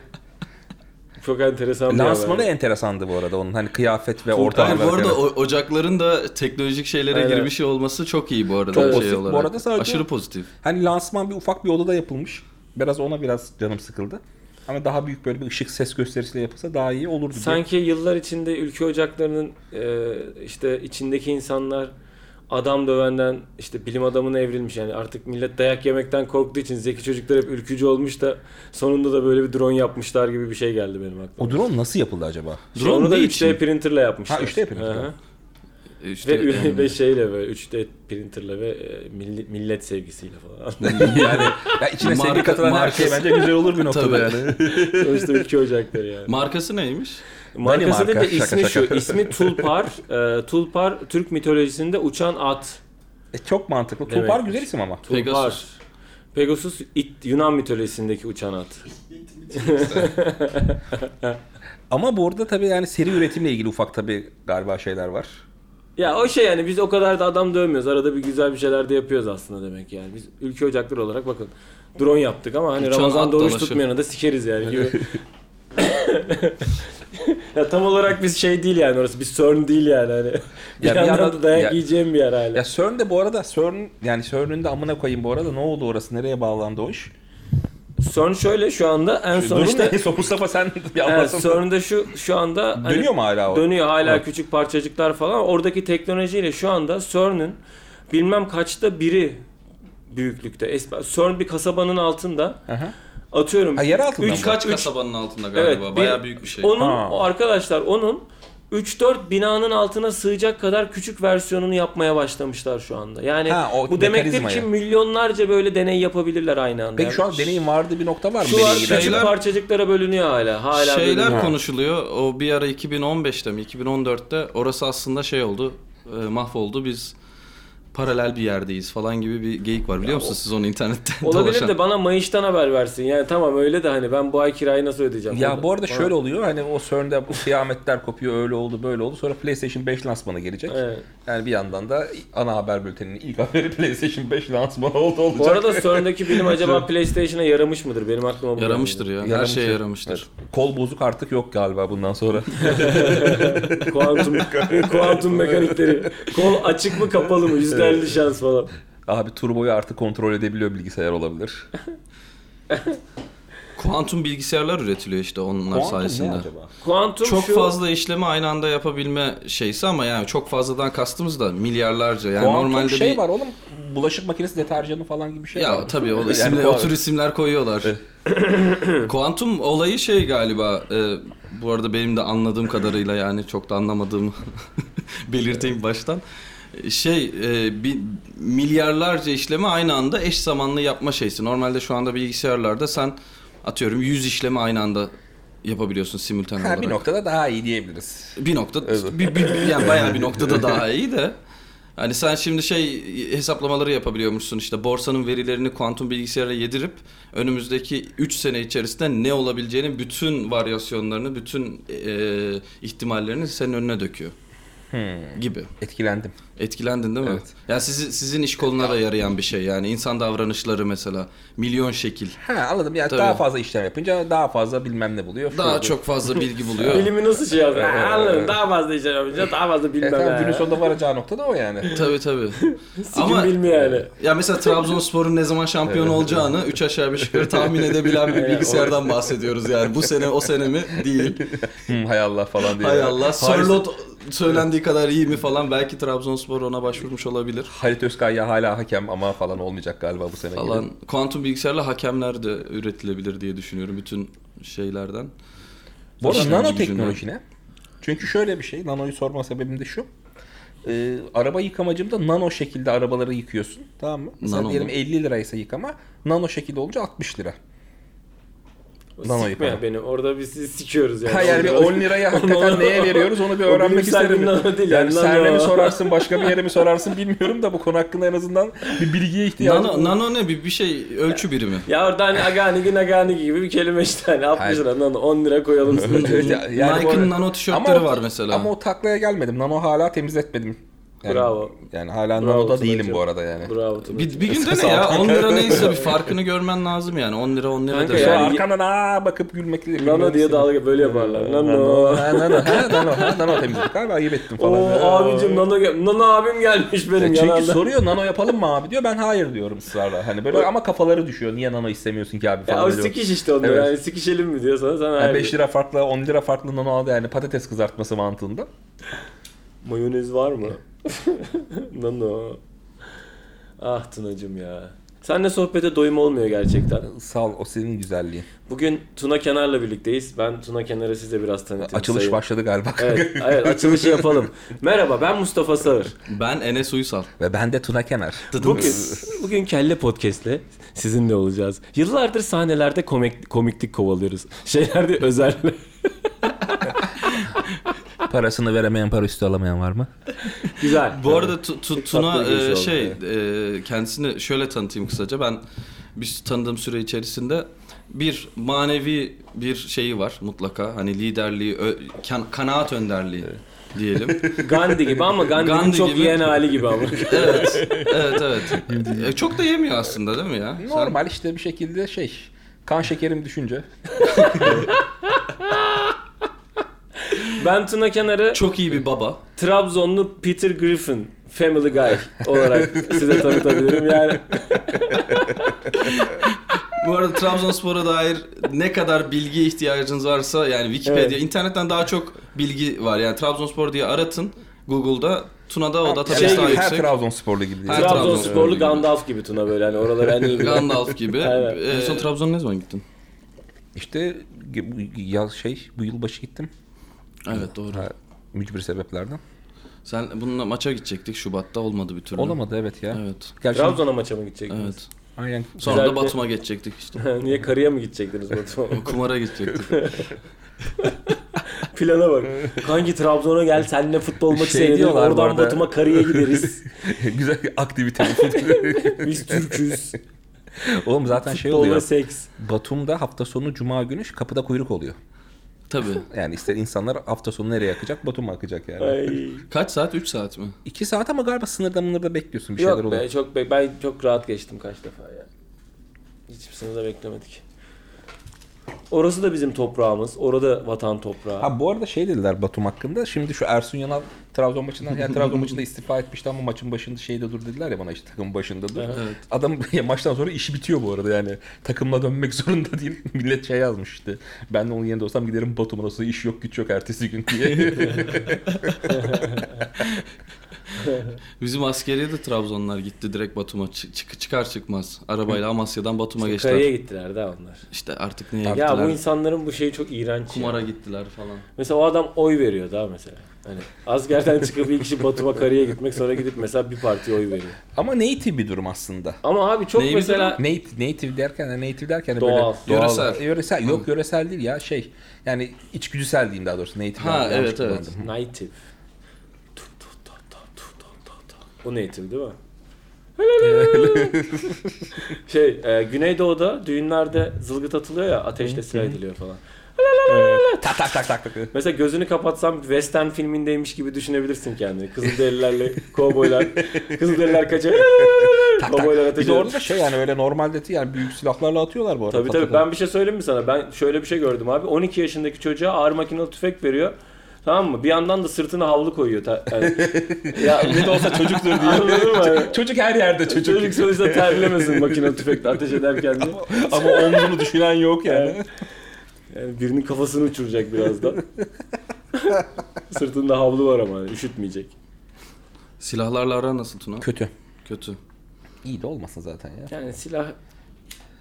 B: çok enteresan bir
A: Lansmanı
B: haber.
A: enteresandı bu arada onun hani kıyafet ve ortam.
C: Hayır, bu
A: olarak,
C: arada
A: evet.
C: o- ocakların da teknolojik şeylere
B: Aynen.
C: girmiş olması çok iyi bu arada.
A: Çok
C: şey
A: pozitif. Bu
C: olarak.
A: arada sadece-
C: Aşırı pozitif.
A: Hani lansman bir ufak bir odada yapılmış. Biraz ona biraz canım sıkıldı. Ama daha büyük böyle bir ışık ses gösterisiyle yapılsa daha iyi olurdu. diye.
B: Sanki yıllar içinde ülke ocaklarının e, işte içindeki insanlar adam dövenden işte bilim adamına evrilmiş yani artık millet dayak yemekten korktuğu için zeki çocuklar hep ülkücü olmuş da sonunda da böyle bir drone yapmışlar gibi bir şey geldi benim aklıma.
A: O drone nasıl yapıldı acaba?
B: Şey, onu
C: Drone
B: da
C: ne
B: 3D
C: için?
B: printerle yapmışlar.
A: Ha, 3D printerle.
B: Aha.
C: İşte,
B: Ve, ü-
C: yani-
B: ve şeyle böyle 3D printerle ve e, milli- millet sevgisiyle
A: (laughs)
B: falan.
A: (laughs) yani ya içine
C: Marka-
A: sevgi katılan her şey
C: markası-
A: bence güzel olur
C: (laughs)
A: bir noktada
C: Tabii.
A: yani.
B: Sonuçta ülke ocakları yani.
C: Markası neymiş?
B: Markası da
A: Danimarka.
B: de ismi
A: Şaka, şaka.
B: şu. ismi
A: (laughs)
B: Tulpar. Ee, Tulpar Türk mitolojisinde uçan at.
A: E, çok mantıklı.
B: Demek.
A: Tulpar güzel isim ama.
B: Tulpar.
C: Pegasus.
B: Pegasus it, Yunan mitolojisindeki uçan at.
A: Ama bu arada tabii yani seri üretimle ilgili ufak tabii galiba şeyler var.
B: Ya o şey yani biz o kadar da adam dövmüyoruz. Arada bir güzel bir şeyler de yapıyoruz aslında demek yani. Biz ülke ocakları olarak bakın drone yaptık ama hani
C: Uçan
B: Ramazan
C: at
B: doğruş
C: dalaşı.
B: tutmayanı da sikeriz yani
A: (laughs)
B: gibi. (laughs) ya tam olarak biz şey değil yani orası bir CERN değil yani hani. Bir
A: Ya bir
B: yandan
A: yandan-
B: da dayak
A: ya-
B: yiyeceğim bir yer hala.
A: Ya CERN de bu arada CERN yani CERN'ün de amına koyayım bu arada ne oldu orası nereye bağlandı o iş?
B: CERN şöyle şu anda en son
A: Durum
B: işte
A: (laughs) ne? So- Mustafa sen bir
B: Evet,
A: anlatsana.
B: CERN'de şu şu anda hani
A: Dönüyor mu hala o?
B: dönüyor hala
A: Evet.
B: küçük parçacıklar falan. Oradaki teknolojiyle şu anda CERN'ün bilmem kaçta biri büyüklükte. Es- CERN bir kasabanın altında.
A: Aha.
B: Atıyorum.
A: Ha, yer altında
B: üç
A: mı?
C: Kaç
B: üç-
C: kasabanın altında
B: Evet,
C: galiba.
B: bir-
C: Bayağı büyük bir şey.
B: Onun
A: Ha.
B: o arkadaşlar onun 3-4 binanın altına sığacak kadar küçük versiyonunu yapmaya başlamışlar şu anda. Yani
A: Ha, o
B: bu demektir
A: mekanizmayı.
B: ki milyonlarca böyle deney yapabilirler aynı anda.
A: Peki şu an deneyim vardı bir nokta var mı?
B: şu an şey-
A: Deneyim
B: küçük
A: ilgili?
C: şeyler-
B: parçacıklara bölünüyor hala. Hala
C: Şeyler
B: bölünüyor.
C: konuşuluyor. O bir ara 2015'te mi 2014'te orası aslında şey oldu. e, mahvoldu. Biz paralel bir yerdeyiz falan gibi bir geyik var biliyor musunuz siz onu internette
B: Olabilir
C: dolaşan?
B: de bana Mayış'tan haber versin. Yani tamam öyle de hani ben bu ay kirayı nasıl ödeyeceğim?
A: Ya
B: Onu-
A: bu arada
B: bana-
A: şöyle oluyor hani o CERN'de bu kıyametler kopuyor öyle oldu böyle oldu sonra PlayStation 5 lansmanı gelecek.
B: Evet.
A: Yani bir yandan da ana haber bülteninin ilk (laughs) haberi PlayStation 5 lansmanı oldu olacak.
B: Bu arada Sörn'deki bilim
A: (laughs)
B: acaba PlayStation'a yaramış mıdır? Benim aklıma bu geldi. (laughs)
C: Yaramıştır ya. Her şeye yaramıştır.
A: Evet. Kol bozuk artık yok galiba
B: (laughs)
A: bundan sonra.
B: Kuantum,
A: (laughs)
B: kuantum mekanikleri. Kol açık mı kapalı mı? %50 şans falan.
A: Abi turboyu artık kontrol edebiliyor bilgisayar olabilir.
C: Kuantum bilgisayarlar üretiliyor işte onlar sayesinde.
B: Kuantum
C: Çok
B: şu...
C: fazla işlemi aynı anda yapabilme şeysi ama yani çok fazladan kastımız da milyarlarca. Yani
A: Kuantum
C: normalde
A: şey
C: bir
A: var oğlum. Bulaşık makinesi deterjanı falan gibi bir şey
C: Ya
A: var.
C: tabii o
A: Yani
C: isimle,
A: kuantum-
C: o tür isimler koyuyorlar. (coughs) Kuantum olayı şey galiba. e, bu arada benim de anladığım kadarıyla yani çok da anlamadığımı (laughs) belirteyim baştan. Şey e, bir milyarlarca işlemi aynı anda eş zamanlı yapma şeysi. Normalde şu anda bilgisayarlarda sen atıyorum 100 işlemi aynı anda yapabiliyorsun simultane
A: Ha,
C: olarak.
A: bir noktada daha iyi diyebiliriz.
C: Bir nokta,
A: Evet.
C: bir, bir- yani bayağı bir noktada daha iyi de. Hani sen şimdi şey hesaplamaları yapabiliyormuşsun işte borsanın verilerini kuantum bilgisayara yedirip önümüzdeki 3 sene içerisinde ne olabileceğini bütün varyasyonlarını, bütün e, ihtimallerini senin önüne döküyor gibi.
A: Etkilendim.
C: Etkilendin değil mi?
A: Hmm. Evet.
C: Yani sizi, sizin iş koluna da yarayan bir şey yani insan davranışları mesela milyon şekil.
A: Ha anladım. Yani
C: Tabii.
A: daha fazla işlem yapınca daha fazla bilmem ne buluyor. E,
C: Daha
A: Şurada-
C: çok fazla
A: (laughs)
C: bilgi buluyor.
B: Bilimi nasıl şey yapıyor? Ha, Anladım. Daha fazla işler yapınca daha fazla
A: E,
B: bilmem.
A: tamam,
B: ha.
A: günün sonunda varacağı nokta da o
C: (laughs)
A: yani.
C: Tabii tabii.
B: Sikim bilmiyor yani.
C: Ya mesela Trabzonspor'un ne zaman şampiyon olacağını 3 aşağı 5 yukarı tahmin edebilen bir bilgisayardan bahsediyoruz yani. Bu sene o sene mi? Değil.
A: Hmm, hay Allah falan diye.
C: Hay Allah.
A: Haris-
C: Sörlot söylendiği kadar iyi mi falan belki Trabzonspor ona başvurmuş olabilir.
A: Halit Özkaya hala hakem ama falan olmayacak galiba bu sene.
C: Falan. Kuantum bilgisayarla hakemler de üretilebilir diye düşünüyorum bütün şeylerden.
A: Bu arada
C: İşin
A: nanoteknoloji ne? Çünkü şöyle bir şey. Nanoyu sorma sebebim de şu. Ee, araba yıkamacımda nano şekilde arabaları yıkıyorsun. Tamam mı? Mesela
C: Nano
A: diyelim
C: mu?
A: 50 liraysa yıkama. Nano şekilde olunca 60 lira.
B: O
A: Lan o
B: Sikme
A: yukarı.
B: beni. Orada biz sizi sikiyoruz yani.
A: Ha yani bir 10 lirayı hakikaten neye veriyoruz onu bir
B: O
A: öğrenmek
B: bilimsel
A: isterim.
B: bir nano değil
A: yani
B: yani,
A: serve
B: nano.
A: mi sorarsın başka bir yere mi sorarsın bilmiyorum da bu konu hakkında en azından bir bilgiye ihtiyacım
C: Nano, nano ne? Bir, bir şey ölçü birimi.
B: (laughs) Ya orada hani aganigi naganigi gibi bir kelime işte hani 60 lira lan 10 lira koyalım size.
A: (laughs) Evet, ya- yani bu arada-
C: Nike'ın nano tişörtleri
A: Ama o-
C: var mesela.
A: Ama o taklaya gelmedim. Nano hala temizletmedim. Yani,
B: Bravo.
A: Yani hala
B: Bravo
A: nanoda
B: Tunacığım.
A: değilim bu arada yani.
B: Bravo Tuna.
C: bir, bir günde
A: (laughs)
C: ne ya? 10 lira neyse bir farkını görmen lazım yani. 10 lira 10 liradır.
B: Kanka
A: Sonra
B: ya- Yani-
A: arkandan aa bakıp gülmek
B: Nano diye dalga böyle yaparlar. (laughs) Nano.
A: Ha, Ee, nano, ha, nano, ha, nano (laughs) temizlik abi ayıp ettim falan.
B: Oo
A: Ya.
B: abicim nano gel nano abim gelmiş
A: E,
B: benim
A: Çünkü
B: yanımda.
A: soruyor nano yapalım mı abi diyor ben hayır diyorum ısrarla. Hani böyle ama kafaları düşüyor. Niye nano istemiyorsun ki abi
B: (laughs) Ya o
A: falan diyor.
B: sikiş işte onlar.
A: Evet.
B: Yani sikişelim mi diyor sana sen
A: Yani
B: hayır.
A: 5
B: diyor.
A: lira farklı 10 lira farklı nano aldı yani patates kızartması mantığında.
B: Mayonez var mı? (laughs) nano. Ah Tunacım ya. Senle sohbete doyum olmuyor gerçekten.
A: Sağ ol o senin güzelliğin.
B: Bugün Tuna Kenar'la birlikteyiz. Ben Tuna Kenar'ı size biraz tanıtayım.
A: Açılış
B: sayın-
A: başladı galiba. (laughs)
B: Evet, evet açılışı yapalım. Merhaba ben Mustafa Sağır.
C: Ben Enes Uysal.
A: Ve ben de Tuna Kenar.
B: Bugün, bugün Kelle Podcast'le sizinle olacağız. Yıllardır sahnelerde komik, komiklik kovalıyoruz. (laughs) Şeylerde özel.
A: Parasını veremeyen para üstü alamayan var mı?
B: Güzel.
C: Bu arada Tu- Tu- Tuna
B: tatlı bir giriş
C: e,
B: oldu,
C: şey e, kendisini şöyle tanıtayım kısaca. Ben bir tanıdığım süre içerisinde bir manevi bir şeyi var mutlaka. Hani liderliği, ö- kan- kanaat önderliği
B: (laughs)
C: diyelim.
B: Gandhi gibi ama Gandhi'nin
C: Gandhi
B: çok
C: gibi.
B: yiyen hali gibi
C: (laughs)
B: ama.
C: evet. Evet, evet. E, çok da yemiyor aslında değil mi ya? Sen-
A: Normal işte bir şekilde şey kan şekerim düşünce.
B: Şey Ben Tuna Kenar'ı
C: çok iyi bir baba.
B: Trabzonlu Peter Griffin Family Guy olarak size tanıtabilirim. Yani
C: Bu arada Trabzonspor'a dair ne kadar bilgi ihtiyacınız varsa yani Wikipedia,
B: Evet.
C: internetten daha çok bilgi var. Yani Trabzonspor diye aratın Google'da. Tuna'da o da tabii
B: Şey
C: daha
A: gibi, her
C: yüksek.
A: Trabzonsporlu gibi.
C: Her
A: diyelim.
B: Trabzonsporlu Gandalf gibi Tuna böyle hani oraları en iyi bilen.
C: (laughs) Gandalf gibi.
B: Evet.
C: Ee, en son Trabzon'a ne zaman gittin?
A: İşte bu yaz şey bu yılbaşı gittim.
C: Evet doğru.
A: Ha, mücbir sebeplerden.
C: Sen bununla maça gidecektik Şubat'ta olmadı bir türlü.
A: Olamadı evet ya.
C: Evet.
A: Gerçi
B: Trabzon'a maça mı gidecek?
C: Evet.
A: aynen. (laughs)
C: Sonra
B: Güzel
C: da
B: bir-
C: Batum'a geçecektik işte.
B: (laughs) Niye karıya mı gidecektiniz Batuhan?
C: Kumara gidecektik.
B: (laughs) Plana bak. Kanki Trabzon'a gel seninle futbol maçı
A: Şey
B: seyredelim.
A: diyorlar bu
B: Oradan
A: arada.
B: Batum'a karıya
C: (laughs)
B: gideriz.
A: Güzel bir aktivite. (laughs)
B: Biz Türk'üz.
A: Oğlum (laughs) zaten şey
B: Futbol ve
A: oluyor.
B: seks.
A: Batum'da hafta sonu cuma günü kapıda kuyruk oluyor.
C: Tabii.
A: Yani ister insanlar hafta sonu nereye akacak? Batum'a akacak yani.
B: Ay.
C: Kaç saat? 3 saat mi?
A: İki saat ama galiba sınırda mınırda bekliyorsun bir şeyler
B: Yok be,
A: oluyor.
B: çok be, ben çok rahat geçtim kaç defa ya. Hiçbir sınırda beklemedik. Orası da bizim toprağımız. Orada vatan toprağı.
A: Ha bu arada şey dediler Batum hakkında. Şimdi şu Ersun Yanal Trabzon maçından yani Trabzon
B: (laughs)
A: maçında istifa etmişti ama maçın başında şeyde dur dediler ya bana işte takım başında dur.
C: Evet.
A: Adam (laughs) ya maçtan sonra işi bitiyor bu arada yani. Takımla dönmek (laughs) zorunda değil. Millet şey yazmış işte. Ben de onun yerinde olsam giderim Batum'a nasıl iş yok güç yok ertesi gün
B: (laughs)
A: diye.
C: Bizim askeriye de Trabzonlar gitti direkt Batum'a. Çı- çık- çıkar çıkmaz. Arabayla Amasya'dan Batum'a geçtiler.
B: Karaya gittiler daha onlar.
C: İşte artık neye
B: Ya
C: gittiler?
B: bu insanların bu şeyi çok iğrenç. ya.
C: Kumara gittiler falan.
B: Mesela o adam oy veriyor daha mesela. Hani askerden çıkıp ilk işi Batum'a karaya gitmek sonra gidip mesela bir partiye oy veriyor.
A: ama native bir durum aslında.
B: Ama abi çok
C: Neyi bir
B: mesela
A: Native, native derken yani native derken de
B: Doğal.
A: böyle
C: Yöresel.
A: Yöresel. Yok yöresel değil ya şey. Yani içgüdüsel diyeyim daha doğrusu. Native.
C: Ha,
A: yanlış
C: evet, evet.
A: kullandım.
B: native. Tu, tu, ta, ta, tu, ta, ta, ta. O native değil
A: (laughs)
B: mi? şey e, Güneydoğu'da düğünlerde zılgıt atılıyor ya ateşle silah ediliyor falan.
A: Tak tak tak tak tak.
B: Mesela gözünü kapatsam western filmindeymiş gibi düşünebilirsin kendini.
A: (laughs)
B: Kızılderililerle kovboylar, Kızılderililer kaçıyor.
A: Tak tak.
B: kovboylar
A: Bir
B: ateş
A: de
B: ediyor.
A: orada şey yani öyle normalde değil yani büyük silahlarla atıyorlar bu arada.
B: Tabii tabii
A: Patakon.
B: ben bir şey söyleyeyim mi sana? Ben şöyle bir şey gördüm abi. 12 yaşındaki çocuğa ağır makinalı tüfek veriyor. Tamam mı? Bir yandan da sırtına havlu koyuyor. Ta- yani- (laughs) ya ne de olsa çocuktur diye. Anladın mı?
A: Çocuk her yerde
B: (laughs)
A: çocuk.
B: Çocuk sonuçta terlemesin makinalı tüfekle ateş ederken (laughs) de.
A: Ama omzunu düşünen yok yani.
B: Yani birinin kafasını uçuracak (laughs) birazdan. Sırtında havlu var ama üşütmeyecek.
C: Silahlarla ara nasıl Tuna?
A: Kötü.
C: Kötü.
A: İyi de olmasın zaten ya.
B: Yani silah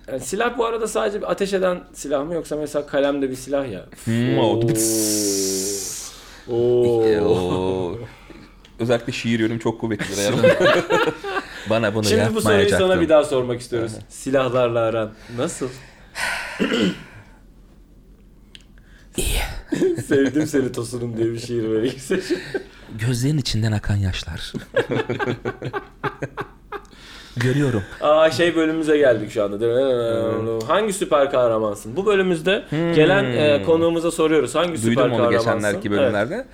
B: yani silah bu arada sadece bir ateş eden silah mı yoksa mesela kalem de bir silah ya.
A: Hmm, o- (laughs)
B: Oo.
A: Oo. Özellikle şiir yönüm çok kuvvetlidir. Yani. Bana bunu
B: Şimdi bu soruyu
A: yapmayacaktın.
B: sana bir daha sormak istiyoruz. Silahlarla aran
A: (sighs)
B: nasıl? İyi. (laughs) Sevdim seni tosunum diye bir şiir böyle yüksek.
A: (laughs) Gözlerin içinden
B: (laughs)
A: akan yaşlar. Görüyorum.
B: Aa şey bölümümüze geldik şu anda. Hangi süper kahramansın? Bu bölümümüzde gelen e, konuğumuza soruyoruz. Hangi süper
A: Hmm. Duydum onu
B: kahramansın?
A: geçenlerki bölümlerde.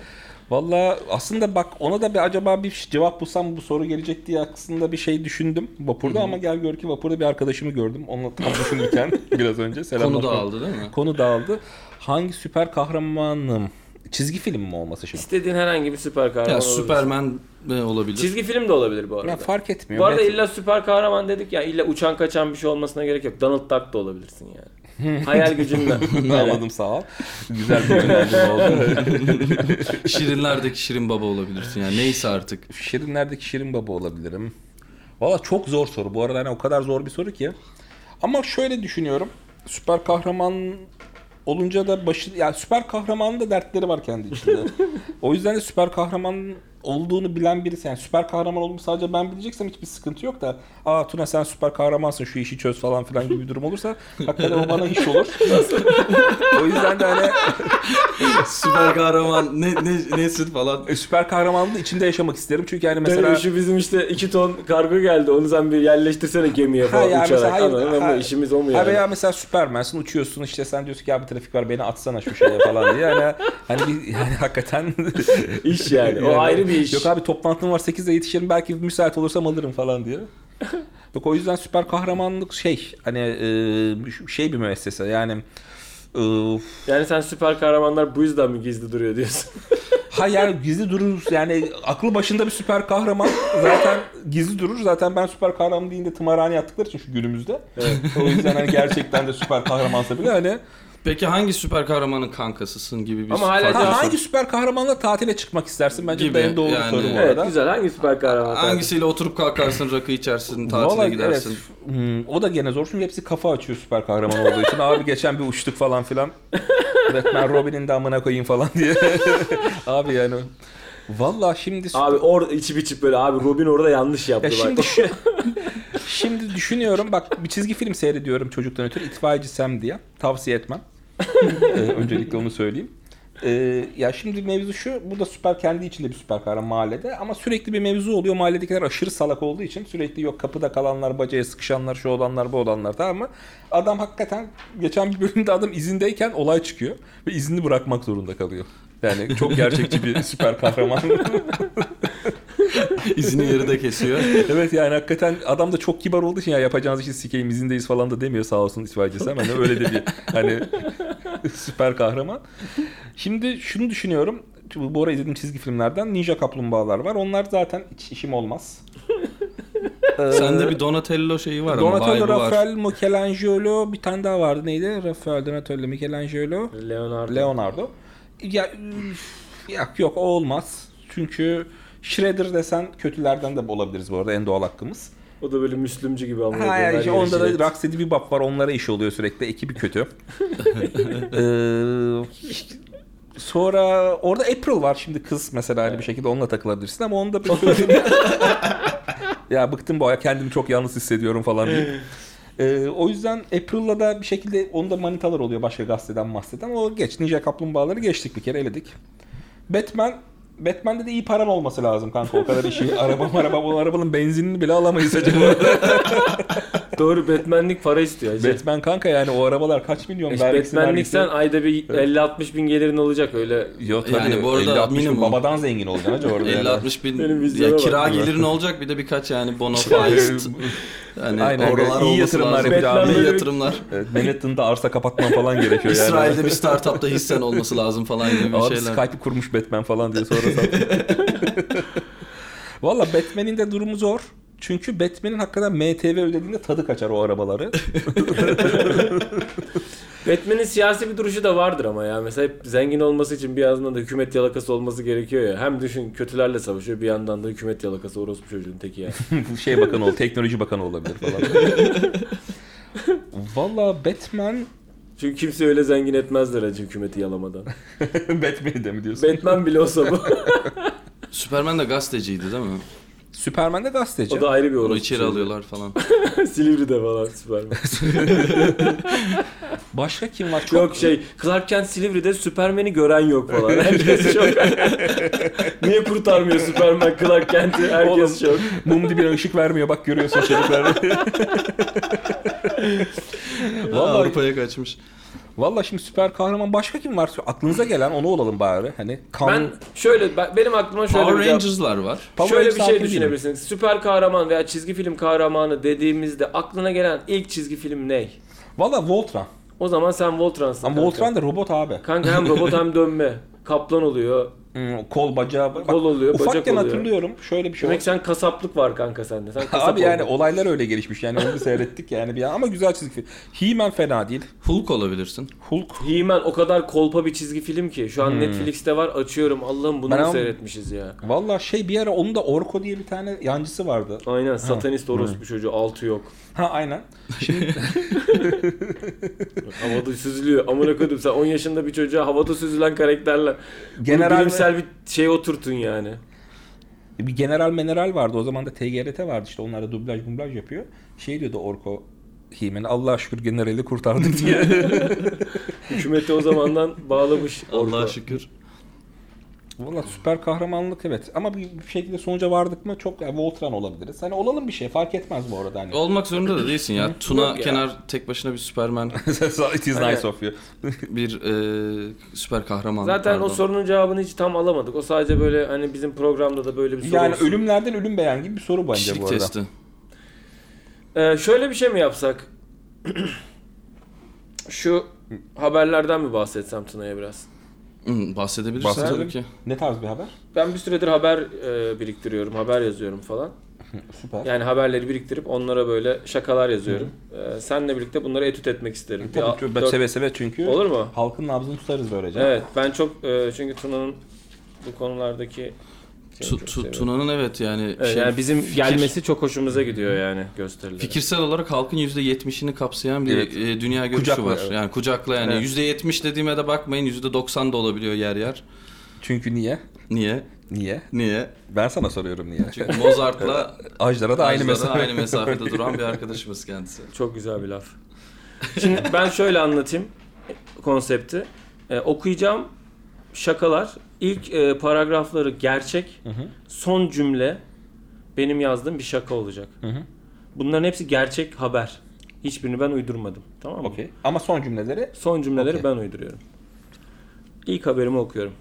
A: Valla aslında bak ona da bir acaba bir cevap bulsam bu soru gelecek diye aslında bir şey düşündüm vapurda ama gel gör ki vapurda bir arkadaşımı gördüm. Onunla tam
B: (laughs)
A: düşünürken biraz önce selam
C: Konu dağıldı değil mi?
A: Konu dağıldı. Hangi süper kahramanım? Çizgi film mi olması şimdi?
B: İstediğin herhangi bir süper kahraman
C: Ya
B: olabilir.
C: Superman e, olabilir.
B: Çizgi film de olabilir bu arada.
A: Ya fark etmiyor.
B: Bu arada
A: Met-
B: illa süper kahraman dedik ya illa uçan kaçan bir şey olmasına gerek yok. Donald Duck da olabilirsin
A: (laughs)
B: yani. Hayal gücünle.
A: Anladım sağ ol. Güzel bir
B: (laughs)
A: yönlendirme oldu.
C: Şirinlerdeki Şirin Baba olabilirsin yani neyse artık.
A: Şirinlerdeki Şirin Baba olabilirim. Valla çok zor soru. Bu arada hani o kadar zor bir soru ki. Ama şöyle düşünüyorum. Süper kahraman olunca da başı... Yani süper kahramanın da dertleri var kendi içinde. o yüzden de süper kahraman olduğunu bilen birisi. Yani süper kahraman olduğumu sadece ben bileceksem hiçbir sıkıntı yok da aa Tuna sen süper kahramansın şu işi çöz falan filan gibi bir durum olursa hakikaten o bana iş olur. o yüzden de hani
C: Süper kahraman ne, ne, nesin falan.
A: e, süper kahramanlığı içinde yaşamak isterim. Çünkü yani mesela
B: Mesela şu bizim işte 2 ton kargo geldi. Onu sen bir yerleştirsene gemiye
A: Ha
B: falan
A: ya
B: uçarak.
A: mesela hayır.
B: Anladın mı?
A: ha-
B: işimiz o mu
A: ha
B: yani?
A: veya mesela Superman'sın uçuyorsun işte sen diyorsun ki ya bir trafik var beni atsana şu şeye falan diye. Yani, hani bir- yani hakikaten. (laughs)
B: İş yani. (laughs) O
A: Yani,
B: ayrı bir iş.
A: Yok abi toplantım var 8'de yetişirim belki müsait olursam alırım
B: (laughs)
A: falan diye. Yok o yüzden süper kahramanlık şey hani e, şey bir müessese yani e,
B: Yani sen süper kahramanlar bu yüzden mi gizli duruyor diyorsun?
A: ha yani gizli durur yani aklı başında bir süper kahraman zaten gizli durur zaten ben süper kahraman deyince tımarhane yaptıkları için şu günümüzde o yüzden hani gerçekten de süper kahramansa bile hani
C: Peki hangi süper kahramanın kankasısın gibi bir
B: Ama hala
C: farklı
B: diyorsun.
A: Ha,
C: soru.
A: hangi süper kahramanla tatile çıkmak istersin? Bence
C: Gibi,
A: en doğru
C: yani.
A: soru bu
B: evet
A: arada.
B: güzel. Hangi süper kahraman?
C: Hangisiyle oturup kalkarsın, rakı içersin, tatile
A: Vallahi
C: gidersin.
A: evet. Hmm, o da gene zor çünkü hepsi kafa açıyor süper kahraman olduğu için. Abi geçen bir uçtuk falan filan. Batman Robin'in de amına koyayım falan diye. (laughs) Abi yani. Valla şimdi...
B: Abi orada içip içip böyle abi Robin orada yanlış yaptı
A: ya
B: bak.
A: şimdi şu- şimdi düşünüyorum bak bir çizgi film seyrediyorum çocuktan ötürü itfaiyeci Sam diye. Tavsiye etmem. Ee, öncelikle onu söyleyeyim. Ee, ya şimdi mevzu şu, burada süper kendi içinde bir süper kahraman mahallede ama sürekli bir mevzu oluyor. Mahalledekiler aşırı salak olduğu için sürekli yok kapıda kalanlar, bacaya sıkışanlar, şu olanlar, bu olanlar tamam mı? Adam hakikaten geçen bir bölümde adam izindeyken olay çıkıyor ve izni bırakmak zorunda kalıyor. Yani çok gerçekçi bir süper kahraman.
C: İzini
B: (laughs)
C: yarıda kesiyor.
A: evet yani hakikaten adam da çok kibar olduğu için ya yapacağınız işi sikeyim izindeyiz falan da demiyor sağ olsun itfaiyecisi hemen de öyle de bir hani (laughs) süper kahraman. Şimdi şunu düşünüyorum. Bu ara izlediğim çizgi filmlerden Ninja Kaplumbağalar var. Onlar zaten hiç işim olmaz.
B: Ee,
C: Sende bir Donatello şeyi var ama
A: Donatello,
C: vibe'ı var.
A: Rafael, Michelangelo bir tane daha vardı neydi? Rafael, Donatello, Michelangelo,
B: Leonardo.
A: Leonardo. Ya üf, yok, yok o olmaz. Çünkü Shredder desen kötülerden de olabiliriz bu arada en doğal hakkımız.
B: O da böyle Müslümcü gibi ama.
A: Ha, yani işte onda da Rocksteady Bebop var. Onlara iş oluyor sürekli. Ekibi kötü. Ee, sonra orada April var şimdi kız mesela hani bir şekilde onunla takılabilirsin ama onda bir ya bıktım bu ay kendimi çok yalnız hissediyorum falan diye. Ee, o yüzden April'la da bir şekilde onda manitalar oluyor başka gazeteden bahseden. O geç. Ninja Kaplumbağaları geçtik bir kere eledik. Batman Batman'de de iyi paran olması lazım kanka o kadar işi. (laughs) Araba araba bu arabanın benzinini bile alamayız acaba.
B: Doğru Batman'lik para istiyor. Hacı.
A: Batman kanka yani o arabalar kaç milyon
B: İşte
A: vergisi
B: Batman'lik
A: vergisi-
B: sen ayda bir 50-60 bin gelirin olacak öyle.
A: Yok tabii.
C: Yani bu arada
A: 50-60 bin
C: minimum.
A: babadan zengin olacaksın acaba orada. yani.
C: 50-60
B: Benim
C: bin
B: vizyona
C: ya
B: bak. Şey,
C: kira gelirin olacak bir de birkaç yani
B: (laughs)
C: bono faizli. Yani
A: Aynen,
C: oralar
A: iyi
C: olması
A: yatırımlar
C: lazım.
B: yapacağım.
C: İyi yatırımlar.
A: Evet, Manhattan'da arsa kapatman falan gerekiyor yani.
C: İsrail'de bir startupta hissen olması lazım falan gibi bir
A: Abi
C: şeyler.
A: Skype'ı kurmuş Batman falan diye sonra sattı. Valla Batman'in de durumu zor. Çünkü Batman'in hakikaten MTV ödediğinde tadı kaçar o arabaları. (laughs)
B: Batman'in siyasi bir duruşu da vardır ama ya. Mesela hep zengin olması için bir yandan da hükümet yalakası olması gerekiyor ya. Hem düşün kötülerle savaşıyor bir yandan da hükümet yalakası orospu çocuğun teki
A: (laughs)
B: ya.
A: Bu şey bakanı ol, teknoloji bakanı olabilir falan. Valla Batman...
B: Çünkü kimse öyle zengin etmezler hacı hükümeti yalamadan.
A: Batman'i de mi diyorsun?
B: Batman bile olsa
A: (laughs)
B: bu.
C: Superman de gazeteciydi değil mi?
A: Superman de gazeteci.
B: o da ayrı bir
C: Onu
B: orospu
C: içeri
B: çocuğu.
C: alıyorlar falan.
B: (laughs) Silivri'de falan Superman.
C: (laughs)
A: Başka kim var? Çok
B: Yok şey Clark Kent Silivri'de Superman'i gören yok
C: (laughs)
B: falan. Herkes şok. (laughs) Niye kurtarmıyor Superman Clark Kent'i? Herkes şok.
A: Mum dibine ışık vermiyor bak
B: (laughs)
A: görüyorsun şerifleri. Vallahi,
C: Avrupa'ya kaçmış.
A: vallahi şimdi süper kahraman başka kim var? Aklınıza gelen onu olalım bari. Hani kan,
B: Ben şöyle ben- benim aklıma şöyle
C: Power
B: bir cevap-
C: Rangers'lar var.
A: Power
B: şöyle bir
A: Rangers
B: şey
A: altı değil mi?
B: düşünebilirsiniz. Süper kahraman veya çizgi film kahramanı dediğimizde aklına gelen ilk çizgi film ne?
A: Valla Voltron.
B: O zaman sen Voltran'sın.
A: Ama
B: kanka.
A: Voltron da robot abi.
B: Kanka hem robot hem dönme. Kaplan oluyor.
A: Hmm, kol bacağı. Bak,
B: Kol oluyor, bacak
A: Ufakken
B: oluyor.
A: hatırlıyorum şöyle bir şey
B: Demek
A: oldu.
B: sen kasaplık var kanka sende. Sen kasap
A: Abi yani
B: oldun.
A: olaylar öyle gelişmiş yani onu da seyrettik yani bir an. ama güzel çizgi film. He-Man fena değil.
C: Hulk olabilirsin.
A: Hulk.
B: He-Man o kadar kolpa bir çizgi film ki. Şu an Netflix'te var açıyorum. Allah'ım bunu
A: Ben
B: mu
A: ama-
B: seyretmişiz ya.
A: Valla şey bir ara onun da Orko diye bir tane yancısı vardı.
B: Aynen satanist orospu çocuğu altı yok.
A: Ha aynen.
B: Havada süzülüyor. Amına koydum sen 10 yaşında bir çocuğa havada süzülen karakterler. Genel
A: General
B: bilimsel bir şey oturtun yani.
A: Bir general meneral vardı. O zaman da TGRT vardı işte. Onlar da dublaj dublaj yapıyor. Şey diyordu Orko Himen Allah'a şükür generali
B: (laughs)
A: kurtardık diye.
B: Hükümeti o zamandan
C: (laughs)
B: bağlamış.
C: Allah'a
B: Orko.
C: şükür.
A: Valla süper kahramanlık evet. Ama bir bir şekilde sonuca vardık mı çok yani Voltran olabiliriz. Hani olalım bir şey fark etmez bu arada. Hani.
C: Olmak zorunda da değilsin ya. Tuna
B: Yok ya.
C: kenar tek başına
A: (laughs)
C: bir Superman,
A: (laughs) It is nice of you.
C: bir e, süper kahraman.
B: Zaten o
C: pardon.
B: sorunun cevabını hiç tam alamadık. O sadece böyle hani bizim programda da böyle bir soru
A: Yani
B: olsun.
A: ölümlerden ölüm beyan gibi bir soru bence bu
C: kişilik
A: arada.
C: testi.
B: Ee, şöyle bir şey mi yapsak? (clears throat) Şu haberlerden mi bahsetsem Tuna'ya biraz?
C: Hı, bahsedebilirsin
A: Bahsedelim.
C: tabii ki.
A: Ne tarz bir haber?
B: Ben bir süredir haber e, biriktiriyorum, haber yazıyorum falan.
A: Süper.
B: Yani haberleri biriktirip onlara böyle şakalar yazıyorum. Ee, senle birlikte bunları etüt etmek isterim.
A: Tabii
B: Bir a-
A: ki ben
B: dört-
A: seve seve çünkü
B: Olur mu?
A: halkın nabzını tutarız böylece.
B: Evet, ben çok e, çünkü Tuna'nın bu konulardaki şeyini
C: Tu-
B: çok
C: tu-
B: seviyorum.
C: Tuna'nın evet yani,
B: Evet,
C: şey,
B: Ee, yani bizim
C: fikir-
B: gelmesi çok hoşumuza gidiyor yani gösterileri.
C: Fikirsel olarak halkın %70'ini kapsayan bir
A: Evet.
C: e, dünya görüşü
A: Kucakla,
C: var.
A: evet.
C: Yani kucakla yani
B: Evet.
C: %70 dediğime de bakmayın %90 da olabiliyor yer yer.
A: Çünkü niye?
C: Niye?
A: Niye?
C: Niye?
A: Ben sana soruyorum niye.
C: Çünkü Mozart'la
A: Ajdar'a da (laughs) aynı
C: Ajdar'la
A: mesafe.
C: aynı mesafede duran bir arkadaşımız kendisi.
B: Çok güzel bir laf. Şimdi ben şöyle anlatayım konsepti. Ee, okuyacağım şakalar, ilk e, paragrafları gerçek, son cümle benim yazdığım bir şaka olacak.
A: hı.
B: Bunların hepsi gerçek haber. Hiçbirini ben uydurmadım. Tamam mı?
A: Okey. Ama son cümleleri
B: Son cümleleri
A: Okey.
B: ben uyduruyorum. İlk haberimi okuyorum.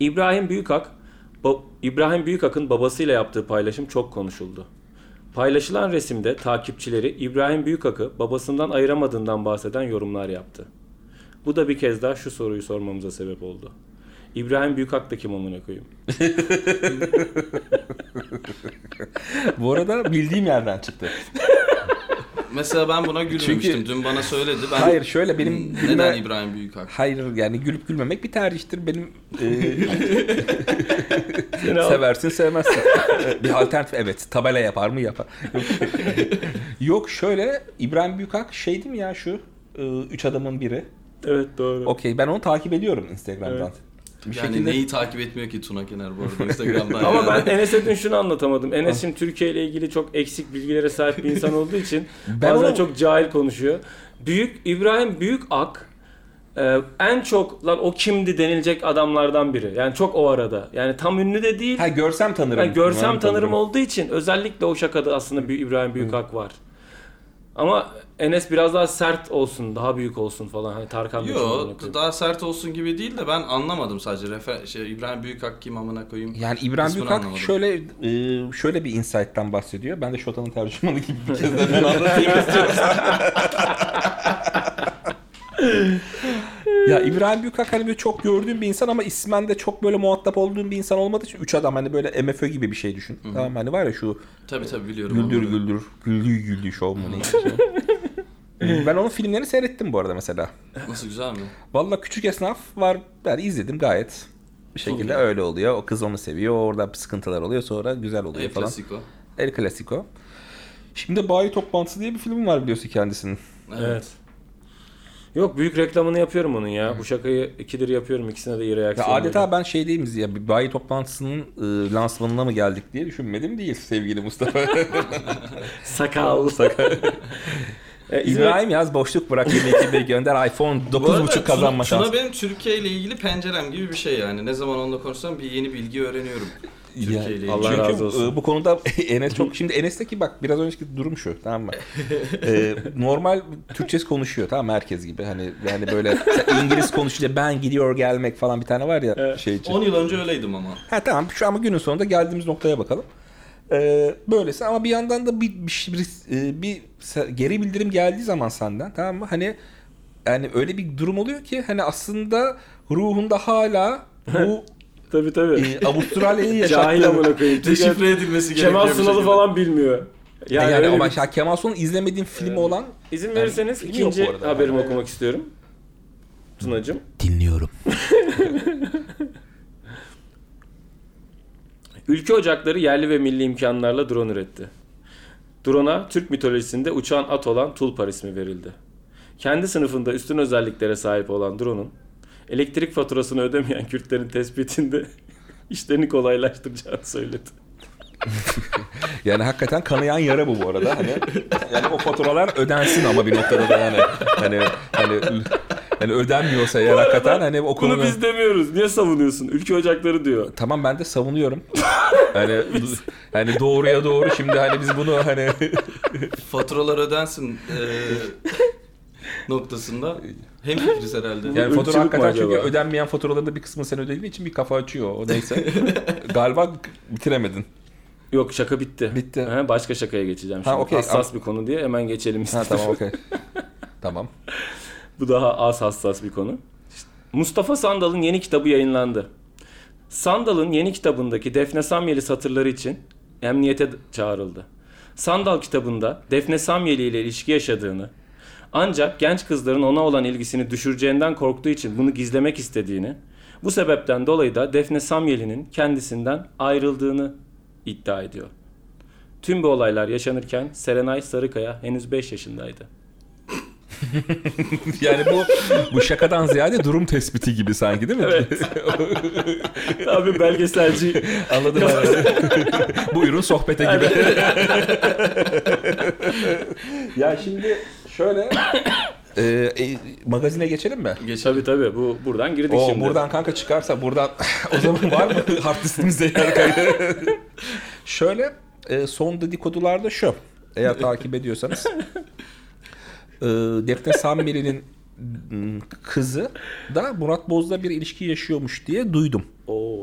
B: İbrahim Büyükak ba- İbrahim Büyükak'ın babasıyla yaptığı paylaşım çok konuşuldu. Paylaşılan resimde takipçileri İbrahim Büyükak'ı babasından ayıramadığından bahseden yorumlar yaptı. Bu da bir kez daha şu soruyu sormamıza sebep oldu. İbrahim Büyükak da kim amına koyayım?
A: bu arada bildiğim yerden çıktı.
C: Mesela ben buna gülmemiştim.
A: Çünkü-
C: Dün bana söyledi. (laughs) Ben Hmm,
A: Hayır şöyle benim
C: neden
A: gülme...
C: İbrahim Büyükak?
A: Hayır yani gülüp gülmemek bir tercihtir. Benim e,
B: Seni al-
A: Seversin sevmezsin. (laughs) bir alternatif evet. Tabela yapar mı yapar. (laughs) Yok, Yok şöyle İbrahim Büyükak şey değil mi ya şu e, üç adamın biri.
B: Evet doğru.
A: Okey ben onu takip ediyorum Instagram'dan.
B: Evet.
A: Bir
C: Yani
A: şekilde
C: neyi takip etmiyor ki Tuna Kener bu arada
A: (laughs)
C: Instagram'dan.
B: Ama
C: yani.
B: ben Enes'e dün şunu anlatamadım. Enes
A: Ah.
B: şimdi Türkiye ile ilgili çok eksik bilgilere sahip bir insan olduğu için
A: Ben
B: bazen
A: onu-
B: çok cahil konuşuyor. Büyük İbrahim Büyük Ak e, en çok lan o kimdi denilecek adamlardan biri. Yani çok o arada. Yani tam ünlü de değil.
A: ha görsem tanırım.
B: Yani görsem
A: Umarım
B: tanırım olduğu için özellikle o şakada aslında bir İbrahim Büyük Ak var. Ama Enes biraz daha sert olsun, daha büyük olsun falan. Hani Tarkan Bey için
C: Yo
B: örnek veriyorum.
C: daha sert olsun gibi değil de ben anlamadım sadece. Refer şey, İbrahim Büyükak kim amına koyayım.
A: Yani İbrahim
C: Kısmını
A: Büyükak
C: anlamadım.
A: şöyle e, şöyle bir insight'tan bahsediyor. Ben de Şota'nın tercümanı gibi bir kez de
C: (laughs)
A: bunu anlatayım istiyorum. ya İbrahim Büyükak hani böyle çok gördüğüm bir insan ama ismen de çok böyle muhatap olduğum bir insan olmadığı için üç adam hani böyle MFÖ gibi bir şey düşün. Tamam hani var ya şu
C: Tabii tabii biliyorum.
A: güldür
C: onları.
A: güldür güldü güldü şov mu ne? Ben onun filmlerini seyrettim bu arada mesela.
C: Nasıl
A: (laughs)
C: güzel mi?
A: Valla küçük esnaf var. Yani izledim gayet. Bir şekilde
C: Çok iyi.
A: öyle oluyor. O kız onu seviyor. Orada sıkıntılar oluyor. Sonra güzel oluyor
C: El
A: falan.
C: Clasico.
A: El Clasico. Şimdi Bayi Toplantısı diye bir film var biliyorsun kendisinin.
C: Evet.
B: Evet. Yok büyük reklamını yapıyorum onun ya. Bu şakayı ikidir yapıyorum. ikisine de iyi
A: Ya
B: reaksiyon. veriyorum.
A: adeta ben şey değil miyiz ya bir bayi toplantısının e, lansmanına mı geldik diye düşünmedim değil sevgili Mustafa.
C: (laughs)
B: (laughs) sakal.
A: (laughs)
B: E, İzmir-
A: İbrahim yaz boşluk bırak 22 gönder iPhone
C: Bu arada
A: 9.5 kazanma
C: Tuna-
A: şansı.
C: Tuna benim Türkiye ile ilgili pencerem gibi bir şey yani. Ne zaman onunla konuşsam bir yeni bilgi öğreniyorum. Türkiye ile ilgili.
B: Allah
A: Çünkü
B: razı olsun.
A: e, bu konuda (laughs) Enes çok şimdi Enes'teki bak biraz önceki durum şu tamam
B: (laughs)
A: mı? E, normal Türkçesi konuşuyor tamam mı? herkes gibi hani yani böyle (laughs) mesela İngiliz konuşunca ben gidiyor gelmek falan bir tane var ya
B: Evet.
A: şey için.
C: 10 yıl önce öyleydim ama.
A: Ha tamam şu ama günün sonunda geldiğimiz noktaya bakalım. Ee, böylesi ama bir yandan da bir, bir, şey- bir, e, bir se- geri bildirim geldiği zaman senden tamam mı? Hani yani öyle bir durum oluyor ki hani aslında ruhunda hala
B: (laughs)
A: bu
B: Tabii tabii.
A: e, Avustralya'yı
B: Cahil
A: yaşattığın
B: amına
A: (laughs)
B: koyayım. Türkiye-
C: Deşifre edilmesi gerekiyor.
B: Kemal
C: bir
B: Sunal'ı
C: şekilde.
B: falan bilmiyor. Yani,
A: yani,
B: öyle
A: ama
B: bir-
A: ya Kemal Sunal'ın izlemediğim filmi olan
B: izin verirseniz
A: Yani yok
B: ikinci
A: bu arada.
B: haberimi okumak istiyorum. Tunacığım.
A: dinliyorum.
B: Ülke ocakları yerli ve milli imkanlarla drone üretti. Drone'a Türk mitolojisinde uçan at olan Tulpar ismi verildi. Kendi sınıfında üstün özelliklere sahip olan drone'un elektrik faturasını ödemeyen Kürtlerin tespitinde (laughs) işlerini kolaylaştıracağını söyledi.
A: Yani hakikaten kanayan yara bu bu arada. Hani yani o faturalar ödensin ama bir noktada da yani hani hani yani ödenmiyorsa eğer hakikaten hani o
B: Bunu
A: konuda...
B: biz demiyoruz. Niye savunuyorsun? Ülke ocakları diyor.
A: Tamam ben de savunuyorum. hani hani doğruya doğru şimdi hani biz bunu hani
C: Faturalar
A: (laughs)
C: ödensin eee, noktasında. Hem herhalde.
A: yani
B: Irkçılık
A: fatura
B: mı
A: hakikaten
B: acaba?
A: çünkü ödenmeyen faturaların da bir kısmı sen ödediğin için bir kafa açıyor o (laughs) neyse. Galiba bitiremedin.
B: Yok şaka bitti.
A: Bitti.
B: Ha, başka şakaya geçeceğim şimdi.
A: okey.
B: Hassas bir konu diye hemen geçelim
A: Ha
B: istedim.
A: tamam okey. (laughs) tamam.
B: Bu daha az hassas bir konu. Mustafa Sandal'ın yeni kitabı yayınlandı. Sandal'ın yeni kitabındaki Defne Samyeli satırları için emniyete d- çağrıldı. Sandal kitabında Defne Samyeli ile ilişki yaşadığını, ancak genç kızların ona olan ilgisini düşüreceğinden korktuğu için bunu gizlemek istediğini, bu sebepten dolayı da Defne Samyeli'nin kendisinden ayrıldığını iddia ediyor. Tüm bu olaylar yaşanırken Serenay Sarıkaya henüz 5 yaşındaydı.
A: Yani bu bu şakadan ziyade durum tespiti gibi sanki değil mi?
B: (laughs) Evet. Abi belgeselci
A: Anladım.
B: (laughs)
A: anladım. Buyurun sohbete (laughs) gibi. ya şimdi şöyle Ee, e, magazine geçelim mi?
B: Tabii
C: Geçelim.
B: tabii bu buradan girdik
A: O
B: şimdi.
A: buradan kanka çıkarsa buradan (laughs) o zaman var mı (laughs) hard diskimizde yer kaydı? Şöyle e, son dedikodularda şu. Eğer takip ediyorsanız. e, Defne Samiri'nin m, kızı da Murat Boz'la bir ilişki yaşıyormuş diye duydum.
B: Oo.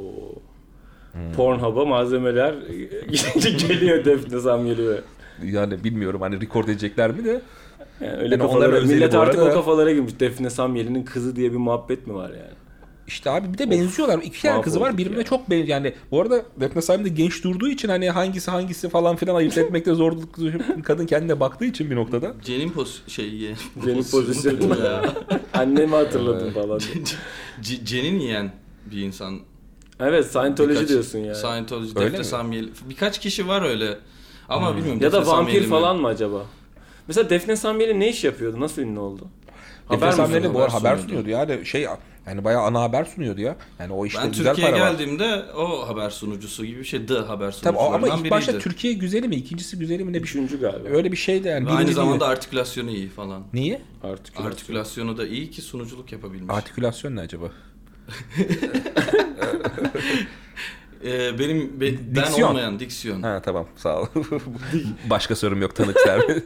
A: Hmm.
B: Pornhub'a malzemeler (laughs) geliyor Defne Sam geliyor.
A: Yani bilmiyorum hani rekord edecekler mi de.
B: Yani öyle
A: Yani onların
B: kafalara,
A: özeli
B: millet
A: bu
B: artık
A: arada.
B: o kafalara girmiş. Defne Samyeli'nin kızı diye bir muhabbet mi var yani?
A: İşte abi bir de benziyorlar. İki tane kızı var.
B: mahvolduk
A: Birbirine
B: ya.
A: çok benziyor. Yani bu arada Defne Salim de genç durduğu için hani hangisi hangisi falan filan
C: (laughs)
A: ayırt etmekte zorluk kadın kendine baktığı için bir noktada.
C: Cenin pos şey
B: (laughs)
C: ye.
B: Cenin pozisyonu.
C: (laughs) ya.
B: Annemi hatırladım falan.
C: C- cenin yiyen bir insan.
B: Evet Scientology
C: Birkaç-
B: diyorsun yani.
C: Scientology,
A: Öyle
C: Defne
A: mi? Hmm.
C: Samyeli. Birkaç kişi var öyle. Ama bilmiyorum.
B: ya da
C: Defne Samyeli
B: vampir
C: mi?
B: falan mı acaba? Mesela Defne Samyeli ne iş yapıyordu? Nasıl ünlü oldu?
A: Defne
B: Haber mi
A: Salim de
C: sunuyordu,
A: bu ara
C: haber
A: haber sunuyordu. Yani şey yani bayağı ana haber sunuyordu ya. Yani o işte
C: Ben
A: güzel
C: Türkiye'ye
A: para var.
C: geldiğimde o haber sunucusu gibi bir şey. The haber
A: Tabii o-
C: sunucularından
A: ama ilk başta
C: biriydi.
A: Türkiye güzeli mi, ikincisi güzeli mi ne bir şey.
B: Üçüncü galiba.
A: Öyle bir şey de yani.
C: Ve
A: birinci
C: aynı
A: değil.
C: zamanda artikülasyonu iyi falan.
A: Niye?
B: Artık.
C: Artikülasyonu da iyi ki sunuculuk yapabilmiş.
A: Artikülasyon ne acaba?
C: Ee, benim be- ben
A: Diksiyon.
C: olmayan diksiyon.
A: Ha tamam sağ ol. Başka sorum yok tanık servis.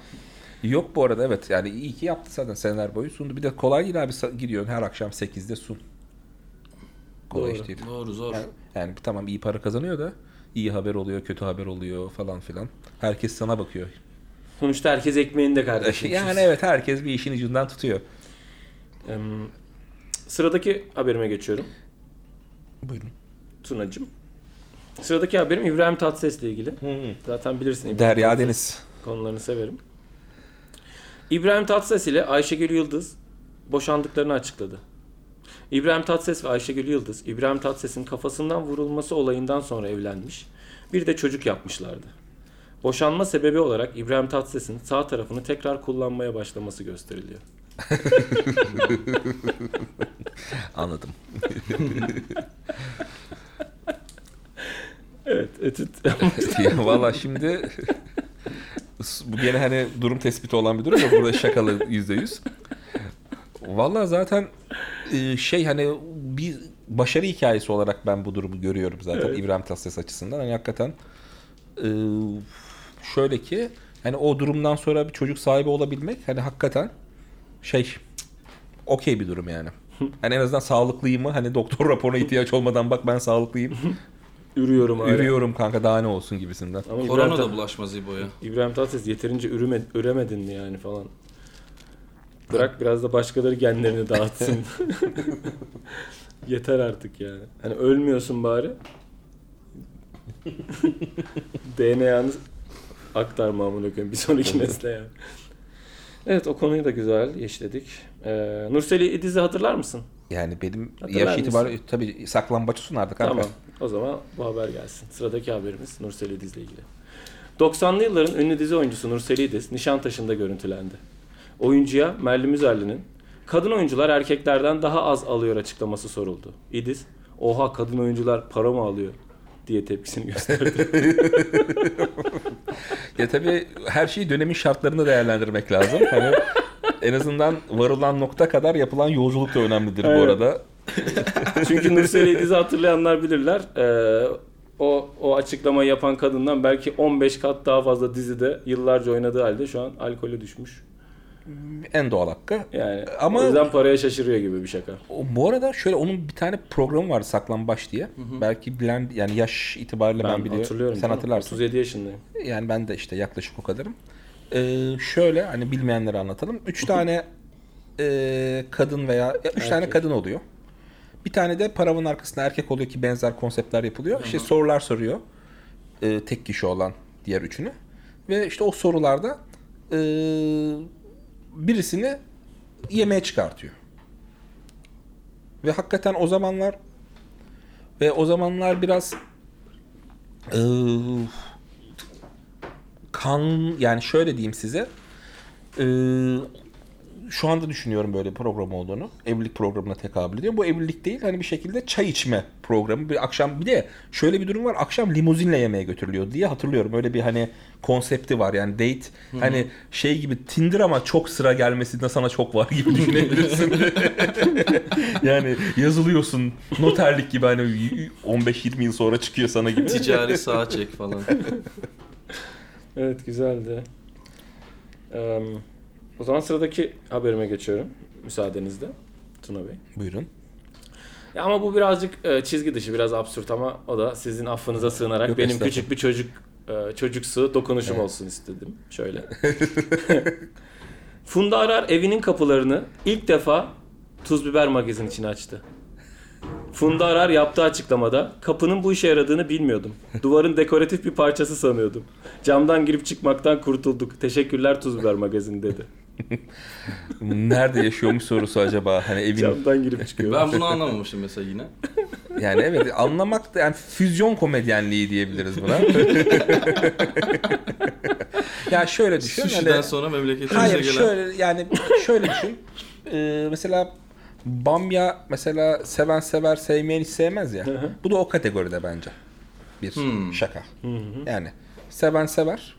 A: (laughs) yok bu arada evet yani iyi ki yaptı zaten seneler boyu sundu. Bir de kolay değil abi sa- gidiyorsun her akşam 8'de sun. Kolay iş değil.
C: Doğru zor.
A: Yani tamam iyi para kazanıyor da iyi haber oluyor, kötü haber oluyor falan filan. Herkes sana bakıyor.
B: Sonuçta herkes ekmeğinde kardeşim.
A: Yani evet herkes bir işin ucundan tutuyor.
B: Em, Sıradaki haberime geçiyorum.
A: Buyurun.
B: Tunacım. Sıradaki haberim İbrahim Tatlıses'le ilgili. Zaten bilirsin İbrahim
A: Derya
B: Tatlıses
A: Deniz.
B: konularını severim. İbrahim Tatlıses ile Ayşegül Yıldız boşandıklarını açıkladı. İbrahim Tatlıses ve Ayşegül Yıldız, İbrahim Tatlıses'in kafasından vurulması olayından sonra evlenmiş. Bir de çocuk yapmışlardı. Boşanma sebebi olarak İbrahim Tatlıses'in sağ tarafını tekrar kullanmaya başlaması gösteriliyor.
A: Anladım.
B: Evet, etüt. (laughs)
A: Valla şimdi bu gene hani durum tespiti olan bir durum ya burada şakalı yüzde yüz. Valla zaten e, şey hani bir başarı hikayesi olarak ben bu durumu görüyorum zaten İbrahim Tatlıses açısından. Hani hakikaten e, şöyle ki hani o durumdan sonra bir çocuk sahibi olabilmek hani hakikaten şey okey bir durum yani. Hani en azından sağlıklıyım mı? Hani doktor raporuna ihtiyaç olmadan bak ben sağlıklıyım.
B: Ürüyorum hala.
A: Ürüyorum kanka daha ne olsun gibisinden.
B: Ama İbrahim,
C: Korona
B: Tat-
C: da bulaşmaz İbo'ya.
B: İbrahim Tatlıses yeterince ürüme, üremedin mi yani falan. Bırak biraz da başkaları genlerini dağıtsın. (laughs) Yeter artık yani. Hani ölmüyorsun bari. (laughs) DNA'nı aktarma amına koyayım bir sonraki nesle yani. Evet o konuyu da güzel yeşledik. Ee, Nurseli İdiz'i hatırlar mısın?
A: Yani benim
B: Hatırlar
A: yaş
B: mısın?
A: itibariyle tabii saklambaç sunardı kanka.
B: Tamam. O zaman bu haber gelsin. Sıradaki haberimiz Nursel İdiz'le ilgili. 90'lı yılların ünlü dizi oyuncusu Nursel İdiz Nişantaşı'nda görüntülendi. Oyuncuya Merlin Müzerli'nin kadın oyuncular erkeklerden daha az alıyor açıklaması soruldu. İdiz, oha kadın oyuncular para mı alıyor diye tepkisini
A: (laughs)
B: gösterdi.
A: Ya tabii her şeyi dönemin şartlarını değerlendirmek lazım. Hani en azından varılan nokta kadar yapılan yolculuk da önemlidir bu
B: Evet.
A: arada.
B: Çünkü Nursel İdiz'i hatırlayanlar bilirler. Ee, o, o açıklamayı yapan kadından belki 15 kat daha fazla dizide yıllarca oynadığı halde şu an alkole düşmüş.
A: En doğal hakkı.
B: Yani
A: Ama-
B: o yüzden paraya şaşırıyor gibi bir şaka.
A: O- Bu arada şöyle onun bir tane programı var saklambaç diye. Belki bilen yani yaş itibariyle ben, biliyorum.
B: hatırlıyorum.
A: Sen
B: canım.
A: hatırlarsın.
B: 37 yaşındayım.
A: Yani ben de işte yaklaşık o kadarım. Ee, şöyle hani bilmeyenlere anlatalım. Üç tane e, kadın veya ya üç tane kadın oluyor. Bir tane de paravanın arkasında erkek oluyor ki benzer konseptler yapılıyor. İşte sorular soruyor. Ee, tek kişi olan diğer üçünü. Ve işte o sorularda e, birisini yemeğe çıkartıyor. Ve hakikaten o zamanlar ve o zamanlar biraz e, kan yani şöyle diyeyim size. Ee, şu anda düşünüyorum böyle program olduğunu. Evlilik programına tekabül ediyor. Bu evlilik değil hani bir şekilde çay içme programı. Bir akşam bir de şöyle bir durum var. Akşam limuzinle yemeğe götürülüyor diye hatırlıyorum. Öyle bir hani konsepti var yani date hani şey gibi Tinder ama çok sıra gelmesinde sana çok var gibi düşünebilirsin. yani yazılıyorsun noterlik gibi hani 15-20 yıl sonra çıkıyor sana gibi.
C: Ticari sağa çek
B: (laughs)
C: falan.
B: Evet güzeldi. Eee, o zaman sıradaki haberime geçiyorum. Müsaadenizle Tuna Bey.
A: Buyurun.
B: Ya ama bu birazcık e, çizgi dışı, biraz absürt ama o da sizin affınıza sığınarak
A: Yok,
B: benim
A: estağfurullah.
B: küçük bir çocuk e, çocuksu dokunuşum olsun istedim. Şöyle. (laughs) Funda Arar evinin kapılarını ilk defa Tuz Biber magazin için açtı. Funda Arar yaptığı açıklamada kapının bu işe yaradığını bilmiyordum. Duvarın dekoratif bir parçası sanıyordum. Camdan girip çıkmaktan kurtulduk. Teşekkürler Tuz Biber magazin dedi.
A: Nerede yaşıyormuş sorusu acaba? Hani evin
B: Camdan girip çıkıyor.
C: Ben bunu anlamamıştım mesela yine.
A: yani evet anlamak da yani füzyon komedyenliği diyebiliriz
C: (laughs)
A: buna. ya şöyle düşün.
C: Sushi'den
A: hani-
C: sonra memleketimize
A: Hayır
C: gelen...
A: şöyle yani şöyle düşün. Ee, mesela Bamya mesela seven sever sevmeyen hiç sevmez ya. Bu da o kategoride bence. Bir
C: Hmm.
A: şaka. Yani seven sever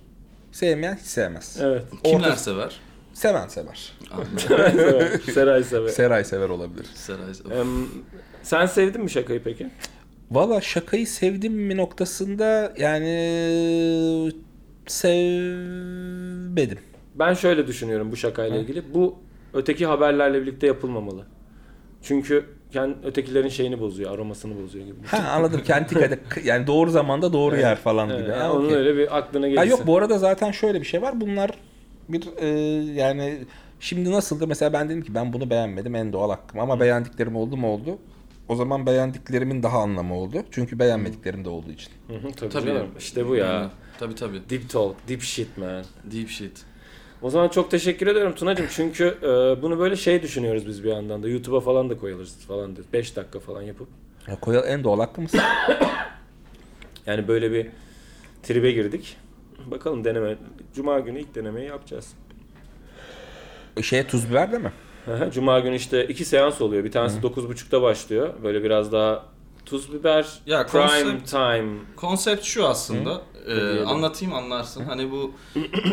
A: sevmeyen hiç sevmez.
B: Evet.
C: Kimler sever?
A: Seven sever. (laughs)
B: Seray sever. Seray sever.
A: Seray sever olabilir.
C: Seray sever.
B: Em, sen sevdin mi şakayı peki?
A: Valla şakayı sevdim mi noktasında yani sevmedim.
B: Ben şöyle düşünüyorum bu şakayla ilgili. Bu öteki haberlerle birlikte yapılmamalı. Çünkü yani ötekilerin şeyini bozuyor, aromasını bozuyor gibi.
A: Ha anladım.
B: (laughs)
A: Kendi dikkat- yani doğru zamanda doğru yer falan
B: Evet,
A: gibi.
B: yani
A: Ha,
B: Ee, onun
A: okey.
B: öyle bir aklına
A: Ya
B: gelirse.
A: yok bu arada zaten şöyle bir şey var. Bunlar bir e, yani şimdi nasıldı mesela ben dedim ki ben bunu beğenmedim en doğal hakkım ama beğendiklerim oldu mu oldu. O zaman beğendiklerimin daha anlamı oldu. Çünkü beğenmediklerim de olduğu için.
B: Hı hı, tabii,
C: Tabii.
B: canım. İşte bu ya.
C: Tabii tabii.
B: Deep talk, deep shit man.
C: Deep shit.
B: O zaman çok teşekkür ediyorum Tunacığım. Çünkü e, bunu böyle şey düşünüyoruz biz bir yandan da. YouTube'a falan da koyarız falan diyor. 5 dakika falan yapıp.
A: Ya Koyal en
B: (coughs)
A: doğal hakkımız.
B: Yani böyle bir tribe girdik. Bakalım deneme. Cuma günü ilk denemeyi yapacağız.
A: Şeye tuz biber de mi?
B: Aha, Cuma günü işte iki seans oluyor. Bir tanesi 9.30'da başlıyor. Böyle biraz daha tuz biber,
C: Ya
B: prime
C: konsept-
B: time.
C: Konsept şu aslında. e,
B: diyelim?
C: anlatayım anlarsın.
A: (clears throat)
C: Hani bu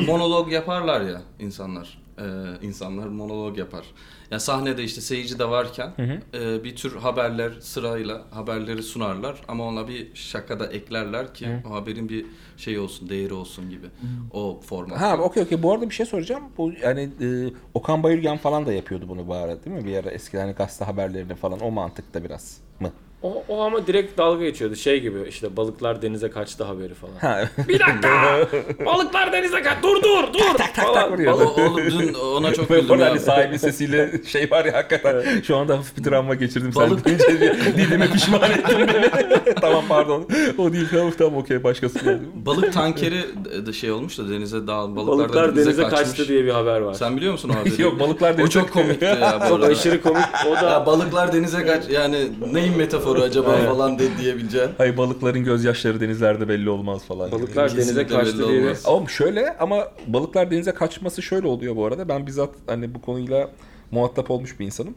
C: monolog yaparlar ya insanlar. E, insanlar monolog yapar. Ya sahnede işte seyirci de varken e, bir tür haberler sırayla haberleri sunarlar ama ona bir şaka da eklerler ki o haberin bir şey olsun, değeri olsun gibi. O format.
A: Ha okey okey. Bu arada bir şey soracağım. Bu yani e, Okan Bayülgen falan da yapıyordu bunu bu ara değil mi? Bir ara eskiden hani gazete haberlerinde falan o mantıkta biraz mı?
B: O, o ama direkt dalga geçiyordu. Şey gibi işte balıklar denize kaçtı haberi falan.
A: Ha. (laughs)
B: Bir dakika! balıklar denize kaçtı! Dur dur dur! falan.
A: vuruyor.
C: O- oğlum dün
A: (laughs)
C: ona çok
A: Böyle
C: güldüm
A: orada
C: ya.
A: hani sahibin sesiyle şey var ya hakikaten şu anda hafif bir travma geçirdim.
C: Balık-
A: Sen deyince bir dilime pişman ettin beni. (laughs) tamam pardon. O değil tamam tamam okey başkası. da-
C: Balık tankeri de şey olmuş da denize dağıl balıklar,
B: Balıklar,
C: da denize,
B: denize
C: kaçmış.
B: kaçtı diye bir haber var.
C: Sen
B: (laughs)
C: biliyor musun o haberi?
A: Yok, balıklar
C: O
A: denize-
C: çok komikti ya. bu
B: Çok
C: arada.
B: aşırı komik. O
C: Ya
B: da
C: balıklar denize kaç yani neyin metaforu acaba falan de diyebileceğin.
A: Hayır balıkların gözyaşları denizlerde belli olmaz falan.
B: balıklar denize
C: Kesinlikle
B: kaçtı
C: belli
B: diye bir...
C: olmaz.
A: Ama şöyle ama balıklar denize kaçması şöyle oluyor bu arada. Ben bizzat hani bu konuyla muhatap olmuş bir insanım.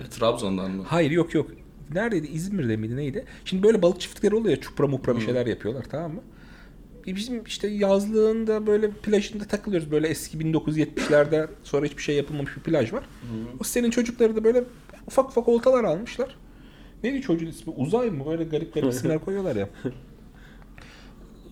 C: E, Trabzon'dan mı?
A: Hayır yok yok. Neredeydi? İzmir'de miydi? Neydi? Şimdi böyle balık çiftlikleri oluyor ya çupra mupra bir şeyler yapıyorlar tamam mı? E Bizim işte yazlığında böyle plajında takılıyoruz. Böyle eski 1970'lerde sonra hiçbir şey yapılmamış bir plaj var. O senin çocukları da böyle ufak ufak oltalar almışlar. Neydi çocuğun ismi? Uzay mı? Böyle garip garip isimler koyuyorlar ya.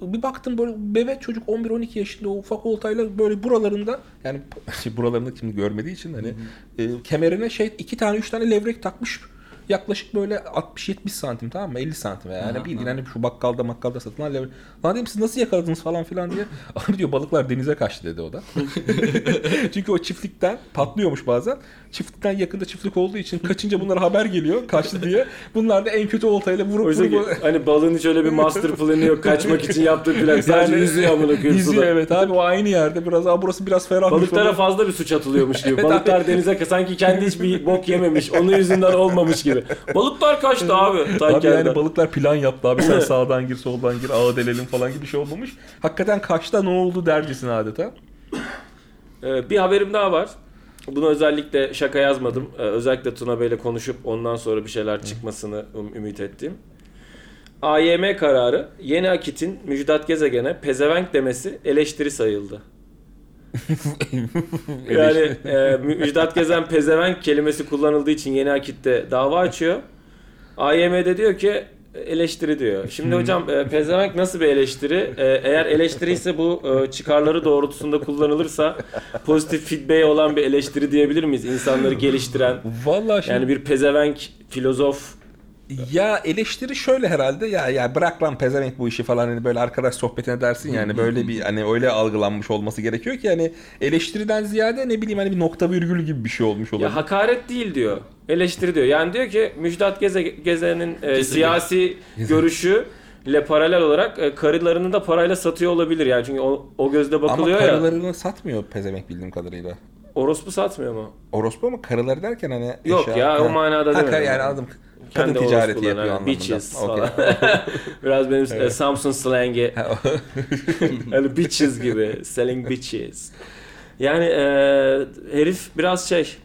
A: Bir baktım böyle bebek çocuk 11-12 yaşında o ufak oltayla böyle buralarında yani (laughs) şey, buralarında kim görmediği için hani e, kemerine şey iki tane üç tane levrek takmış yaklaşık böyle 60-70 santim tamam mı 50 santim yani
C: Aha,
A: bildiğin
C: aha.
A: hani şu bakkalda makkalda satılan levrek. Lan dedim siz nasıl yakaladınız falan filan diye. (laughs) Abi diyor balıklar denize kaçtı dedi o da. Çünkü o çiftlikten patlıyormuş bazen. Çiftlikten yakında çiftlik olduğu için kaçınca bunlara haber geliyor kaçtı diye. Bunlar da en kötü oltayla vurup
B: O yüzden
A: vurup
B: ki, hani balığın hiç öyle bir master planı yok. Kaçmak için yaptığı plan. Sadece
A: Yani-
B: yüzüyor amına koyayım
A: Yüzüyor
B: suda.
A: evet abi o aynı yerde biraz daha burası biraz ferah.
B: Balıklara fazla bir suç atılıyormuş gibi. Balıklar denize ka- sanki kendi hiçbir bok yememiş. Onun yüzünden olmamış gibi. Balıklar kaçtı abi.
A: Abi
B: Tankerden.
A: yani balıklar plan yaptı abi sen sağdan gir soldan gir ağa delelim falan gibi bir şey olmamış. Hakikaten kaçta ne oldu dercesine adeta.
B: Ee, bir haberim daha var. Bunu özellikle şaka yazmadım. Ee, özellikle Tuna Bey'le konuşup ondan sonra bir şeyler çıkmasını um- ümit ettim. AYM kararı Yeni Akit'in Müjdat Gezegen'e pezevenk demesi eleştiri sayıldı. Yani e, Müjdat Gezen pezevenk kelimesi kullanıldığı için Yeni Akit'te dava açıyor. AYM'de diyor ki eleştiri diyor. Şimdi hocam e, pezevenk nasıl bir eleştiri? E, eğer eleştiri ise bu e, çıkarları doğrultusunda kullanılırsa pozitif feedback olan bir eleştiri diyebilir miyiz? İnsanları geliştiren.
A: Vallahi şimdi
B: Yani bir pezevenk filozof
A: ya eleştiri şöyle herhalde ya ya bırak lan pezevenk bu işi falan hani böyle arkadaş sohbetine dersin yani böyle bir hani öyle algılanmış olması gerekiyor ki hani eleştiriden ziyade ne bileyim hani bir nokta virgül gibi bir şey olmuş olabilir.
B: Ya hakaret değil diyor. Eleştiri diyor. Yani diyor ki Müjdat Geze, Gezen'in e, siyasi görüşü ile paralel olarak e, karılarını da parayla satıyor olabilir yani çünkü o, o gözle
A: Ama
B: bakılıyor ya.
A: karılarını satmıyor pezevenk bildiğim kadarıyla.
B: Orospu satmıyor mu?
A: Orospu ama karıları derken hani
B: Yok ya, o
A: Ha.
B: manada
A: Ha, kar-
B: demedim.
A: yani aldım. Kadın
B: Kendi
A: ticareti
B: orospuları,
A: yapıyor
B: ha,
A: anlamında.
B: Bitches
A: Okey.
B: falan. (laughs) Biraz benim e, Samsun slangi. yani bitches gibi. Selling bitches. Yani e, herif biraz şey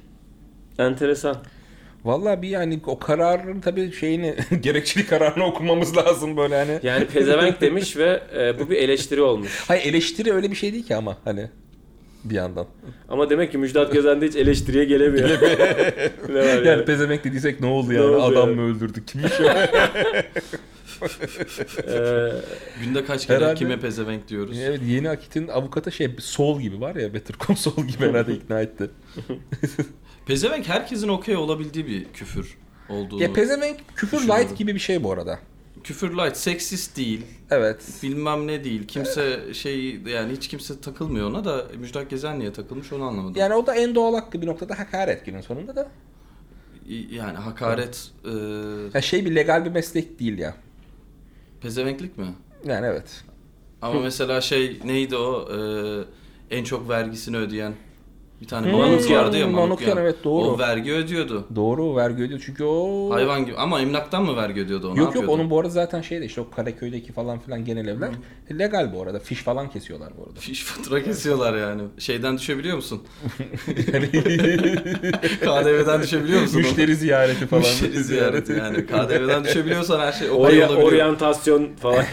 B: enteresan.
A: (laughs) Vallahi bir yani o kararın tabii şeyini (laughs) gerekçeli kararını okumamız lazım böyle hani.
B: Yani
A: (laughs)
B: pezevenk demiş ve e, bu bir eleştiri olmuş.
A: Hayır eleştiri öyle bir şey değil ki ama hani bir yandan.
B: Ama demek ki Müjdat Gezen de hiç eleştiriye gelemiyor. (laughs) ne var yani?
A: Yani pezevenk dediysek ne oldu yani
B: oldu
A: adam
B: yani?
A: mı öldürdük kim
B: (laughs)
A: iş ya?
B: Ee,
C: Günde kaç kere
A: Herhalde-
C: kime pezevenk diyoruz?
A: evet yeni Akit'in avukata şey sol gibi var ya Better Call Saul gibi herhalde ikna etti.
C: Pezevenk herkesin okey olabildiği bir küfür olduğunu.
A: ya pezevenk küfür
C: Düşünüyorum.
A: light gibi bir şey bu arada.
C: küfür light, seksist değil,
A: Evet.
C: bilmem ne değil. Kimse şey yani hiç kimse takılmıyor ona da Müjdat Gezen niye takılmış onu anlamadım.
A: Yani o da en doğal hakkı bir noktada hakaret günün sonunda da.
C: İ- Yani hakaret, e,
A: Ya şey bir legal bir meslek değil ya.
C: pezevenklik mi?
A: Yani evet.
C: Ama mesela şey neydi o e, en çok vergisini ödeyen bir tane
A: Hmm,
C: Manukyan vardı ya
A: Manukyan,
C: Manukyan.
A: evet, doğru.
C: O vergi ödüyordu.
A: Doğru vergi ödüyor çünkü o...
C: Hayvan gibi ama emlaktan mı vergi ödüyordu onu?
A: Yok yok onun bu arada zaten şey de işte o Karaköy'deki falan filan genel evler legal bu arada. Fiş falan kesiyorlar bu
C: (laughs)
A: arada.
C: Fiş fatura kesiyorlar yani. Şeyden düşebiliyor musun? (laughs) KDV'den düşebiliyor musun?
A: (laughs) Müşteri ziyareti (laughs) falan.
C: Müşteri ziyareti yani. KDV'den düşebiliyorsan her
A: (laughs)
C: şey okey
B: orya-
C: olabiliyor.
B: oryantasyon falan.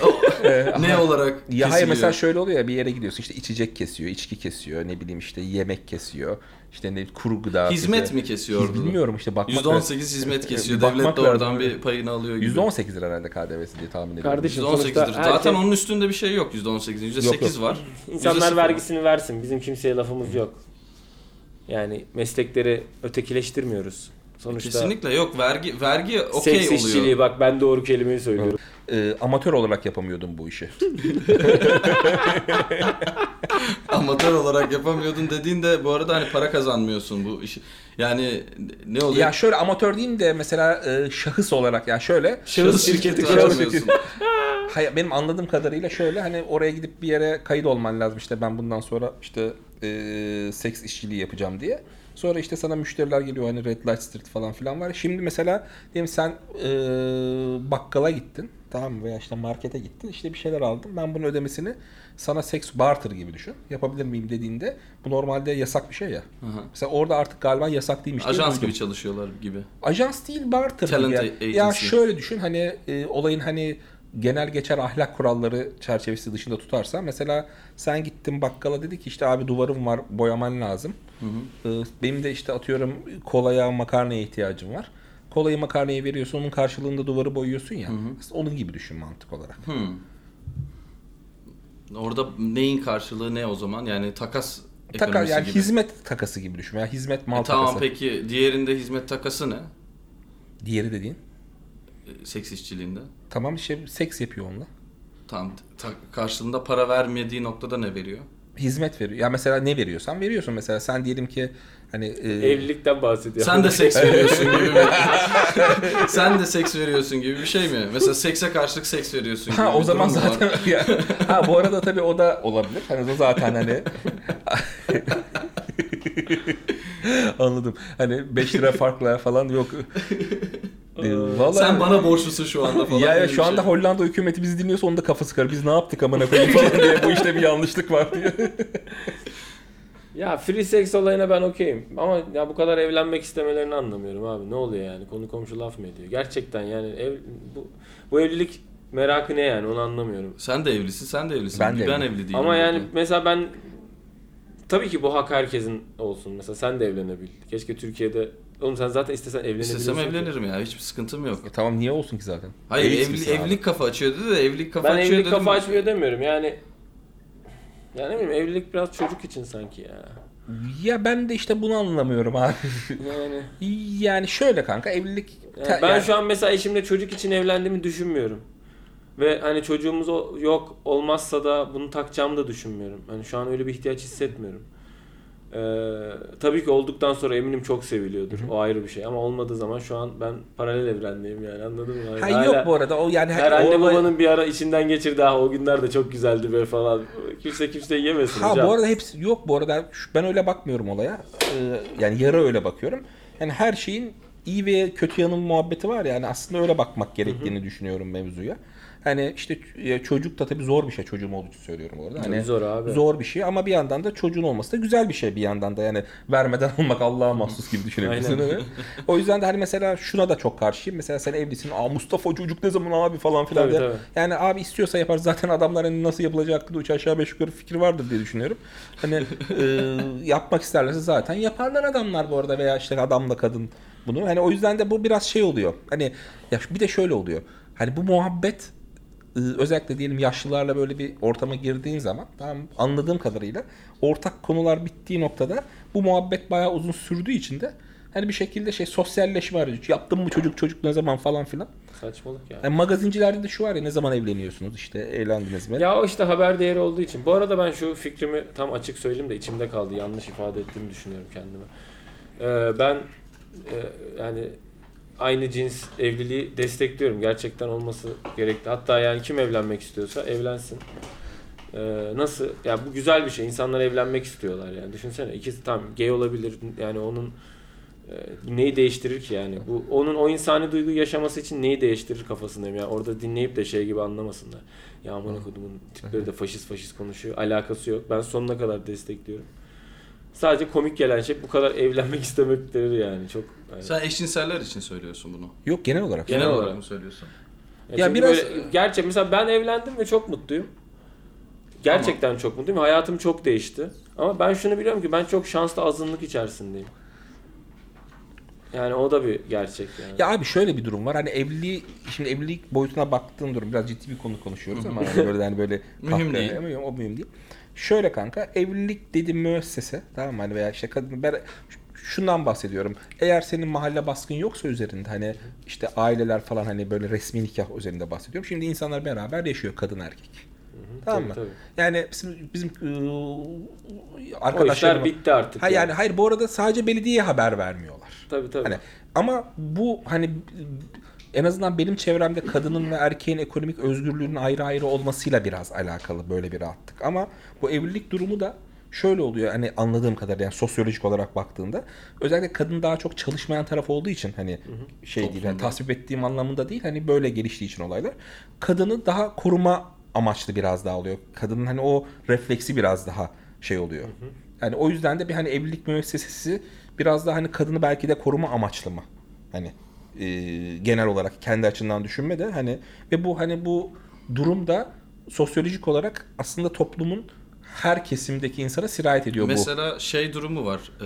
C: Ne olarak kesiliyor?
A: Ya hayır mesela şöyle oluyor ya bir yere gidiyorsun işte içecek kesiyor, içki kesiyor, ne bileyim işte yemek kesiyor. işte ne kuru gıda.
C: Hizmet
A: kesiyor.
C: mi kesiyordu?
A: Bilmiyorum işte bakmak
C: %18 hizmet kesiyor.
A: E, Bakmak
C: Devlet de oradan
A: lazım.
C: bir payını alıyor gibi.
A: %18 lira herhalde KDV'si diye tahmin ediyorum.
B: Kardeşim,
C: %18'dir.
B: Sonuçta herkes-
C: Zaten onun üstünde bir şey yok %18'in. %8
A: Yok, yok.
C: var.
B: İnsanlar
C: %0
B: vergisini versin. Bizim kimseye lafımız yok. Yani meslekleri ötekileştirmiyoruz. Sonuçta
C: Kesinlikle yok. Vergi vergi okey
B: seks
C: oluyor.
B: işçiliği bak ben doğru kelimeyi söylüyorum.
A: Ee, amatör olarak yapamıyordum bu işi.
C: (laughs) Amatör olarak yapamıyordun dediğinde bu arada hani para kazanmıyorsun bu işi. Yani ne oluyor?
A: ya şöyle amatör diyeyim de mesela e, şahıs olarak ya şöyle
B: Şahıs şirketi kuramıyorsun.
C: açamıyorsun.
A: Hayır, benim anladığım kadarıyla şöyle hani oraya gidip bir yere kayıt olman lazım işte ben bundan sonra işte e, seks işçiliği yapacağım diye. Sonra işte sana müşteriler geliyor hani Red Light Street falan filan var. Şimdi mesela diyelim sen e, bakkala gittin tamam mı veya işte markete gittin işte bir şeyler aldın. Ben bunun ödemesini sana seks barter gibi düşün. Yapabilir miyim dediğinde bu normalde yasak bir şey ya.
C: Aha.
A: Mesela orada artık galiba yasak değilmiş. diye
C: (laughs) Ajans
A: duydum.
C: gibi çalışıyorlar gibi.
A: Ajans değil barter gibi
C: Talent
A: yani.
C: agency.
A: Ya şöyle düşün hani e, olayın hani genel geçer ahlak kuralları çerçevesi dışında tutarsa mesela sen gittin bakkala dedi ki işte abi duvarım var boyaman lazım. E, benim de işte atıyorum kolaya makarnaya ihtiyacım var. Kolayı makarnayı veriyorsun onun karşılığında duvarı boyuyorsun ya. Aslında onun gibi düşün mantık olarak.
C: Orada neyin karşılığı ne o zaman? Yani takas ekonomisi
A: Taka, yani
C: gibi. E,
A: hizmet takası gibi düşün. Ya hizmet mal takası.
C: Tamam peki diğerinde hizmet takası ne?
A: Diğeri dediğin.
C: E, Seks işçiliğinde.
A: Tamam işte seks yapıyor onunla.
C: Tamam. ta- karşılığında para vermediği noktada ne veriyor?
A: Hizmet veriyor. Ya mesela ne veriyorsan veriyorsun. Mesela sen diyelim ki hani e,
B: Evlilikten bahsediyor. (laughs)
C: Sen de seks veriyorsun gibi mi? (laughs) Sen de seks veriyorsun gibi bir şey mi? Mesela sekse karşılık seks veriyorsun gibi.
A: Ha o
C: bir
A: zaman
C: durum mu var?
A: zaten (laughs) ya. Ha bu arada tabii o da olabilir. Hani o zaten hani (laughs) Anladım. Hani 5 lira farkla falan yok. Ee, Vallahi
C: Sen bana borçlusun şu anda falan.
A: ya,
C: gibi
A: ya
C: bir
A: şu
C: şey.
A: anda Hollanda hükümeti bizi dinliyorsa onun da kafası kar. Biz ne yaptık amına koyayım falan diye bu işte bir yanlışlık var diye.
B: Ya free sex olayına ben okeyim. Ama ya bu kadar evlenmek istemelerini anlamıyorum abi. Ne oluyor yani? Konu komşu laf mı ediyor? Gerçekten yani ev, bu, bu evlilik merakı ne yani? Onu anlamıyorum.
C: Sen de evlisin, sen de evlisin.
A: Ben de
C: Bir ben
A: evliyim.
C: evli değilim.
B: Ama yani
C: burada.
B: mesela ben tabii ki bu hak herkesin olsun. Mesela sen de evlenebil. Keşke Türkiye'de Oğlum sen zaten istesen evlenebilirsin.
C: istesem
B: ki.
C: evlenirim ya. Hiçbir sıkıntım yok.
A: E tamam niye olsun ki zaten?
C: Hayır
A: Elit
C: evli,
A: misin abi?
C: evlilik kafa açıyor dedi de evlilik kafa
B: Ben
C: açıyor
B: evlilik
C: dedim.
B: kafa açmıyor demiyorum yani. Yani ne bileyim evlilik biraz çocuk için sanki ya.
A: Ya ben de işte bunu anlamıyorum abi.
B: Yani.
A: yani şöyle kanka evlilik...
B: Yani
A: te-
B: ben
A: yani-
B: şu an mesela eşimle çocuk için evlendiğimi düşünmüyorum. Ve hani çocuğumuz o- yok olmazsa da bunu takacağımı da düşünmüyorum. Hani şu an öyle bir ihtiyaç hissetmiyorum. Ee, tabii ki olduktan sonra eminim çok seviliyordur. O ayrı bir şey. Ama olmadığı zaman şu an ben paralel evrendeyim yani anladın mı? Hani
A: Ha,
B: hala-
A: yok bu arada o yani...
B: Her
A: o
B: anne
A: olay-
B: babanın bir ara içinden geçirdi ha o günler de çok güzeldi be falan. Kimse kimseyi yemesin
A: Ha
B: hocam.
A: bu arada hepsi yok bu arada şu- ben öyle bakmıyorum olaya. Ee, yani yarı öyle bakıyorum. Yani her şeyin iyi ve kötü yanın muhabbeti var ya. Yani aslında öyle bakmak gerektiğini düşünüyorum mevzuya. Hani işte ç- e, çocuk da tabii zor bir şey. Çocuğum olduğu için söylüyorum orada. Hani
B: Tabii zor abi.
A: Zor bir şey ama bir yandan da çocuğun olması da güzel bir şey bir yandan da. Yani vermeden (laughs) almak Allah'a mahsus gibi düşünebilirsin.
B: Aynen.
A: hani. o yüzden de hani mesela şuna da çok karşıyım. Mesela sen evlisin. Aa Mustafa çocuk ne zaman abi falan filan.
B: Tabii,
A: diye.
B: tabii.
A: Yani abi istiyorsa yapar. Zaten adamların nasıl yapılacağı hakkında üç aşağı beş yukarı fikri vardır diye düşünüyorum.
B: (laughs)
A: Hani e, yapmak isterlerse zaten yaparlar adamlar bu arada veya işte adamla kadın bunu. Hani o yüzden de bu biraz şey oluyor. Hani ya bir de şöyle oluyor. Hani bu muhabbet e, özellikle diyelim yaşlılarla böyle bir ortama girdiğin zaman tamam anladığım kadarıyla ortak konular bittiği noktada bu muhabbet bayağı uzun sürdüğü için de hani bir şekilde şey sosyalleşme aracı. Yaptın mı çocuk çocuk ne zaman falan filan.
B: Saçmalık ya.
A: Yani magazincilerde de şu var ya ne zaman evleniyorsunuz işte evlendiniz mi?
B: Ya o işte haber değeri olduğu için. Bu arada ben şu fikrimi tam açık söyleyeyim de içimde kaldı. Yanlış ifade ettiğimi düşünüyorum kendime. Ee, ben e, yani aynı cins evliliği destekliyorum. Gerçekten olması gerekli. Hatta yani kim evlenmek istiyorsa evlensin. Ee, nasıl? Ya bu güzel bir şey. İnsanlar evlenmek istiyorlar yani. Düşünsene ikisi tam gay olabilir. Yani onun e, bu neyi değiştirir ki yani? Bu onun o insani duygu yaşaması için neyi değiştirir kafasındayım yani. Orada dinleyip de şey gibi anlamasınlar. Ya amına kodumun tipleri de faşist faşist konuşuyor. Alakası yok. Ben sonuna kadar destekliyorum. Sadece komik gelen şey bu kadar evlenmek (laughs) istemekleri yani. Çok yani.
C: Sen eşcinseller için söylüyorsun bunu.
A: Yok genel olarak.
B: Genel
C: Genel,
B: olarak.
C: olarak mı söylüyorsun?
B: Ya,
A: Ya
B: çünkü
A: biraz-
B: böyle- gerçek mesela ben evlendim ve çok mutluyum. Gerçekten çok mutluyum. Hayatım çok değişti. Ama ben şunu biliyorum ki ben çok şanslı azınlık içerisindeyim. Yani o da bir gerçek yani.
A: Ya abi şöyle bir durum var. Hani evliliği şimdi evlilik boyutuna baktığın durum biraz ciddi bir konu konuşuyoruz ama hani böyle
B: (laughs)
A: hani böyle
C: Mühim
A: kahkaha-
C: değil.
A: Ama yok, o mühim değil. Şöyle kanka evlilik dediğim müessese tamam mı? hani veya işte kadın ben şundan bahsediyorum. Eğer senin mahalle baskın yoksa üzerinde hani işte aileler falan hani böyle resmi nikah üzerinde bahsediyorum. Şimdi insanlar beraber yaşıyor kadın erkek. Tamam
B: tabii,
A: mı?
B: tabii.
A: Yani bizim, bizim ıı,
B: o işler
A: arkadaşlarım
B: bitti artık.
A: Ha yani hayır bu arada sadece belediye haber vermiyorlar.
B: Tabii tabii.
A: Hani ama bu hani en azından benim çevremde kadının ve erkeğin ekonomik özgürlüğünün ayrı ayrı olmasıyla biraz alakalı böyle bir rahatlık. Ama bu evlilik durumu da şöyle oluyor hani anladığım kadarıyla yani sosyolojik olarak baktığında özellikle kadın daha çok çalışmayan taraf olduğu için hani şey değil yani tasvip ettiğim anlamında değil hani böyle geliştiği için olaylar kadını daha koruma amaçlı biraz daha oluyor. Kadının hani o refleksi biraz daha şey oluyor. Yani o yüzden de bir hani evlilik müessesesi biraz daha hani kadını belki de koruma amaçlı mı? Hani e, genel olarak kendi açından düşünme de hani ve bu hani bu durumda sosyolojik olarak aslında toplumun her kesimdeki insana sirayet ediyor bu.
C: Mesela şey durumu var. Ee,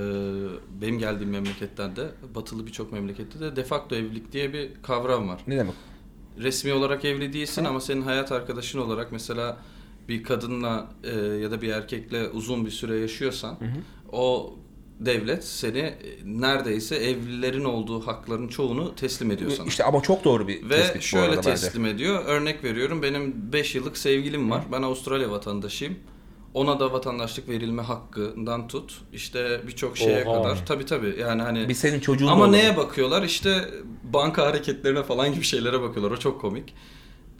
C: benim geldiğim memleketlerde, batılı birçok memlekette de de facto evlilik diye bir kavram var.
A: Ne demek?
C: Resmi olarak evli değilsin ama senin hayat arkadaşın olarak mesela bir kadınla e, ya da bir erkekle uzun bir süre yaşıyorsan o devlet seni e, neredeyse evlilerin olduğu hakların çoğunu teslim ediyor sana.
A: İşte ama çok doğru bir
C: Ve
A: tespit E, bu
C: şöyle
A: arada bence.
C: teslim ediyor. Örnek veriyorum benim 5 yıllık sevgilim var. Ben Avustralya vatandaşıyım. Ona da vatandaşlık verilme hakkından tut. işte birçok şeye
B: Oha.
C: kadar. Tabii tabii yani hani.
A: Bir senin çocuğun da
C: Ama
A: olur.
C: neye bakıyorlar? İşte banka hareketlerine falan gibi şeylere bakıyorlar. O çok komik.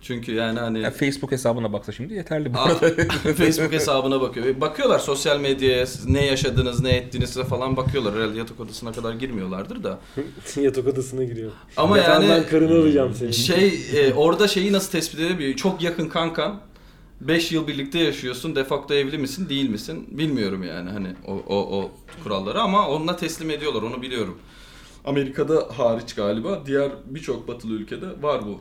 C: Çünkü yani hani
A: Ya Facebook hesabına baksa şimdi yeterli bu (laughs)
C: Aa,
A: arada.
C: Facebook hesabına bakıyor. E, Bakıyorlar sosyal medyaya ne yaşadınız, ne ettiniz falan bakıyorlar. Herhalde yatak odasına kadar girmiyorlardır da.
B: (laughs) Yatak odasına giriyor.
C: Ama
B: Yatağından
C: yani-
B: karını alacağım seni.
C: Şey e, orada şeyi nasıl tespit edebiliyor? Çok yakın kankan 5 yıl birlikte yaşıyorsun. De facto evli misin, değil misin? Bilmiyorum yani hani o o o kuralları ama onunla teslim ediyorlar. Onu biliyorum. Amerika'da hariç galiba. Diğer birçok batılı ülkede var bu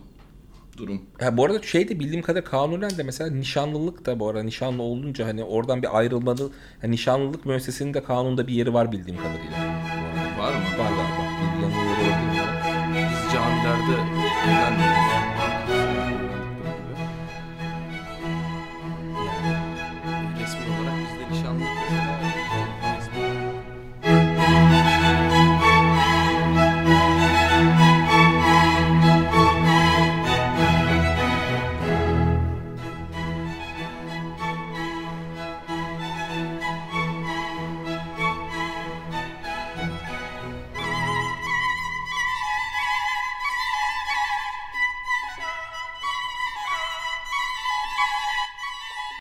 C: durum.
A: Ha, bu arada şey de bildiğim kadar kanunen de mesela nişanlılık da bu arada nişanlı olunca hani oradan bir ayrılmalı. Yani nişanlılık müessesesinin de kanunda bir yeri var bildiğim kadarıyla.
C: Var mı?
A: Var galiba. Bildiğim yeri olabilir.
C: Biz camilerde evlenmiyoruz.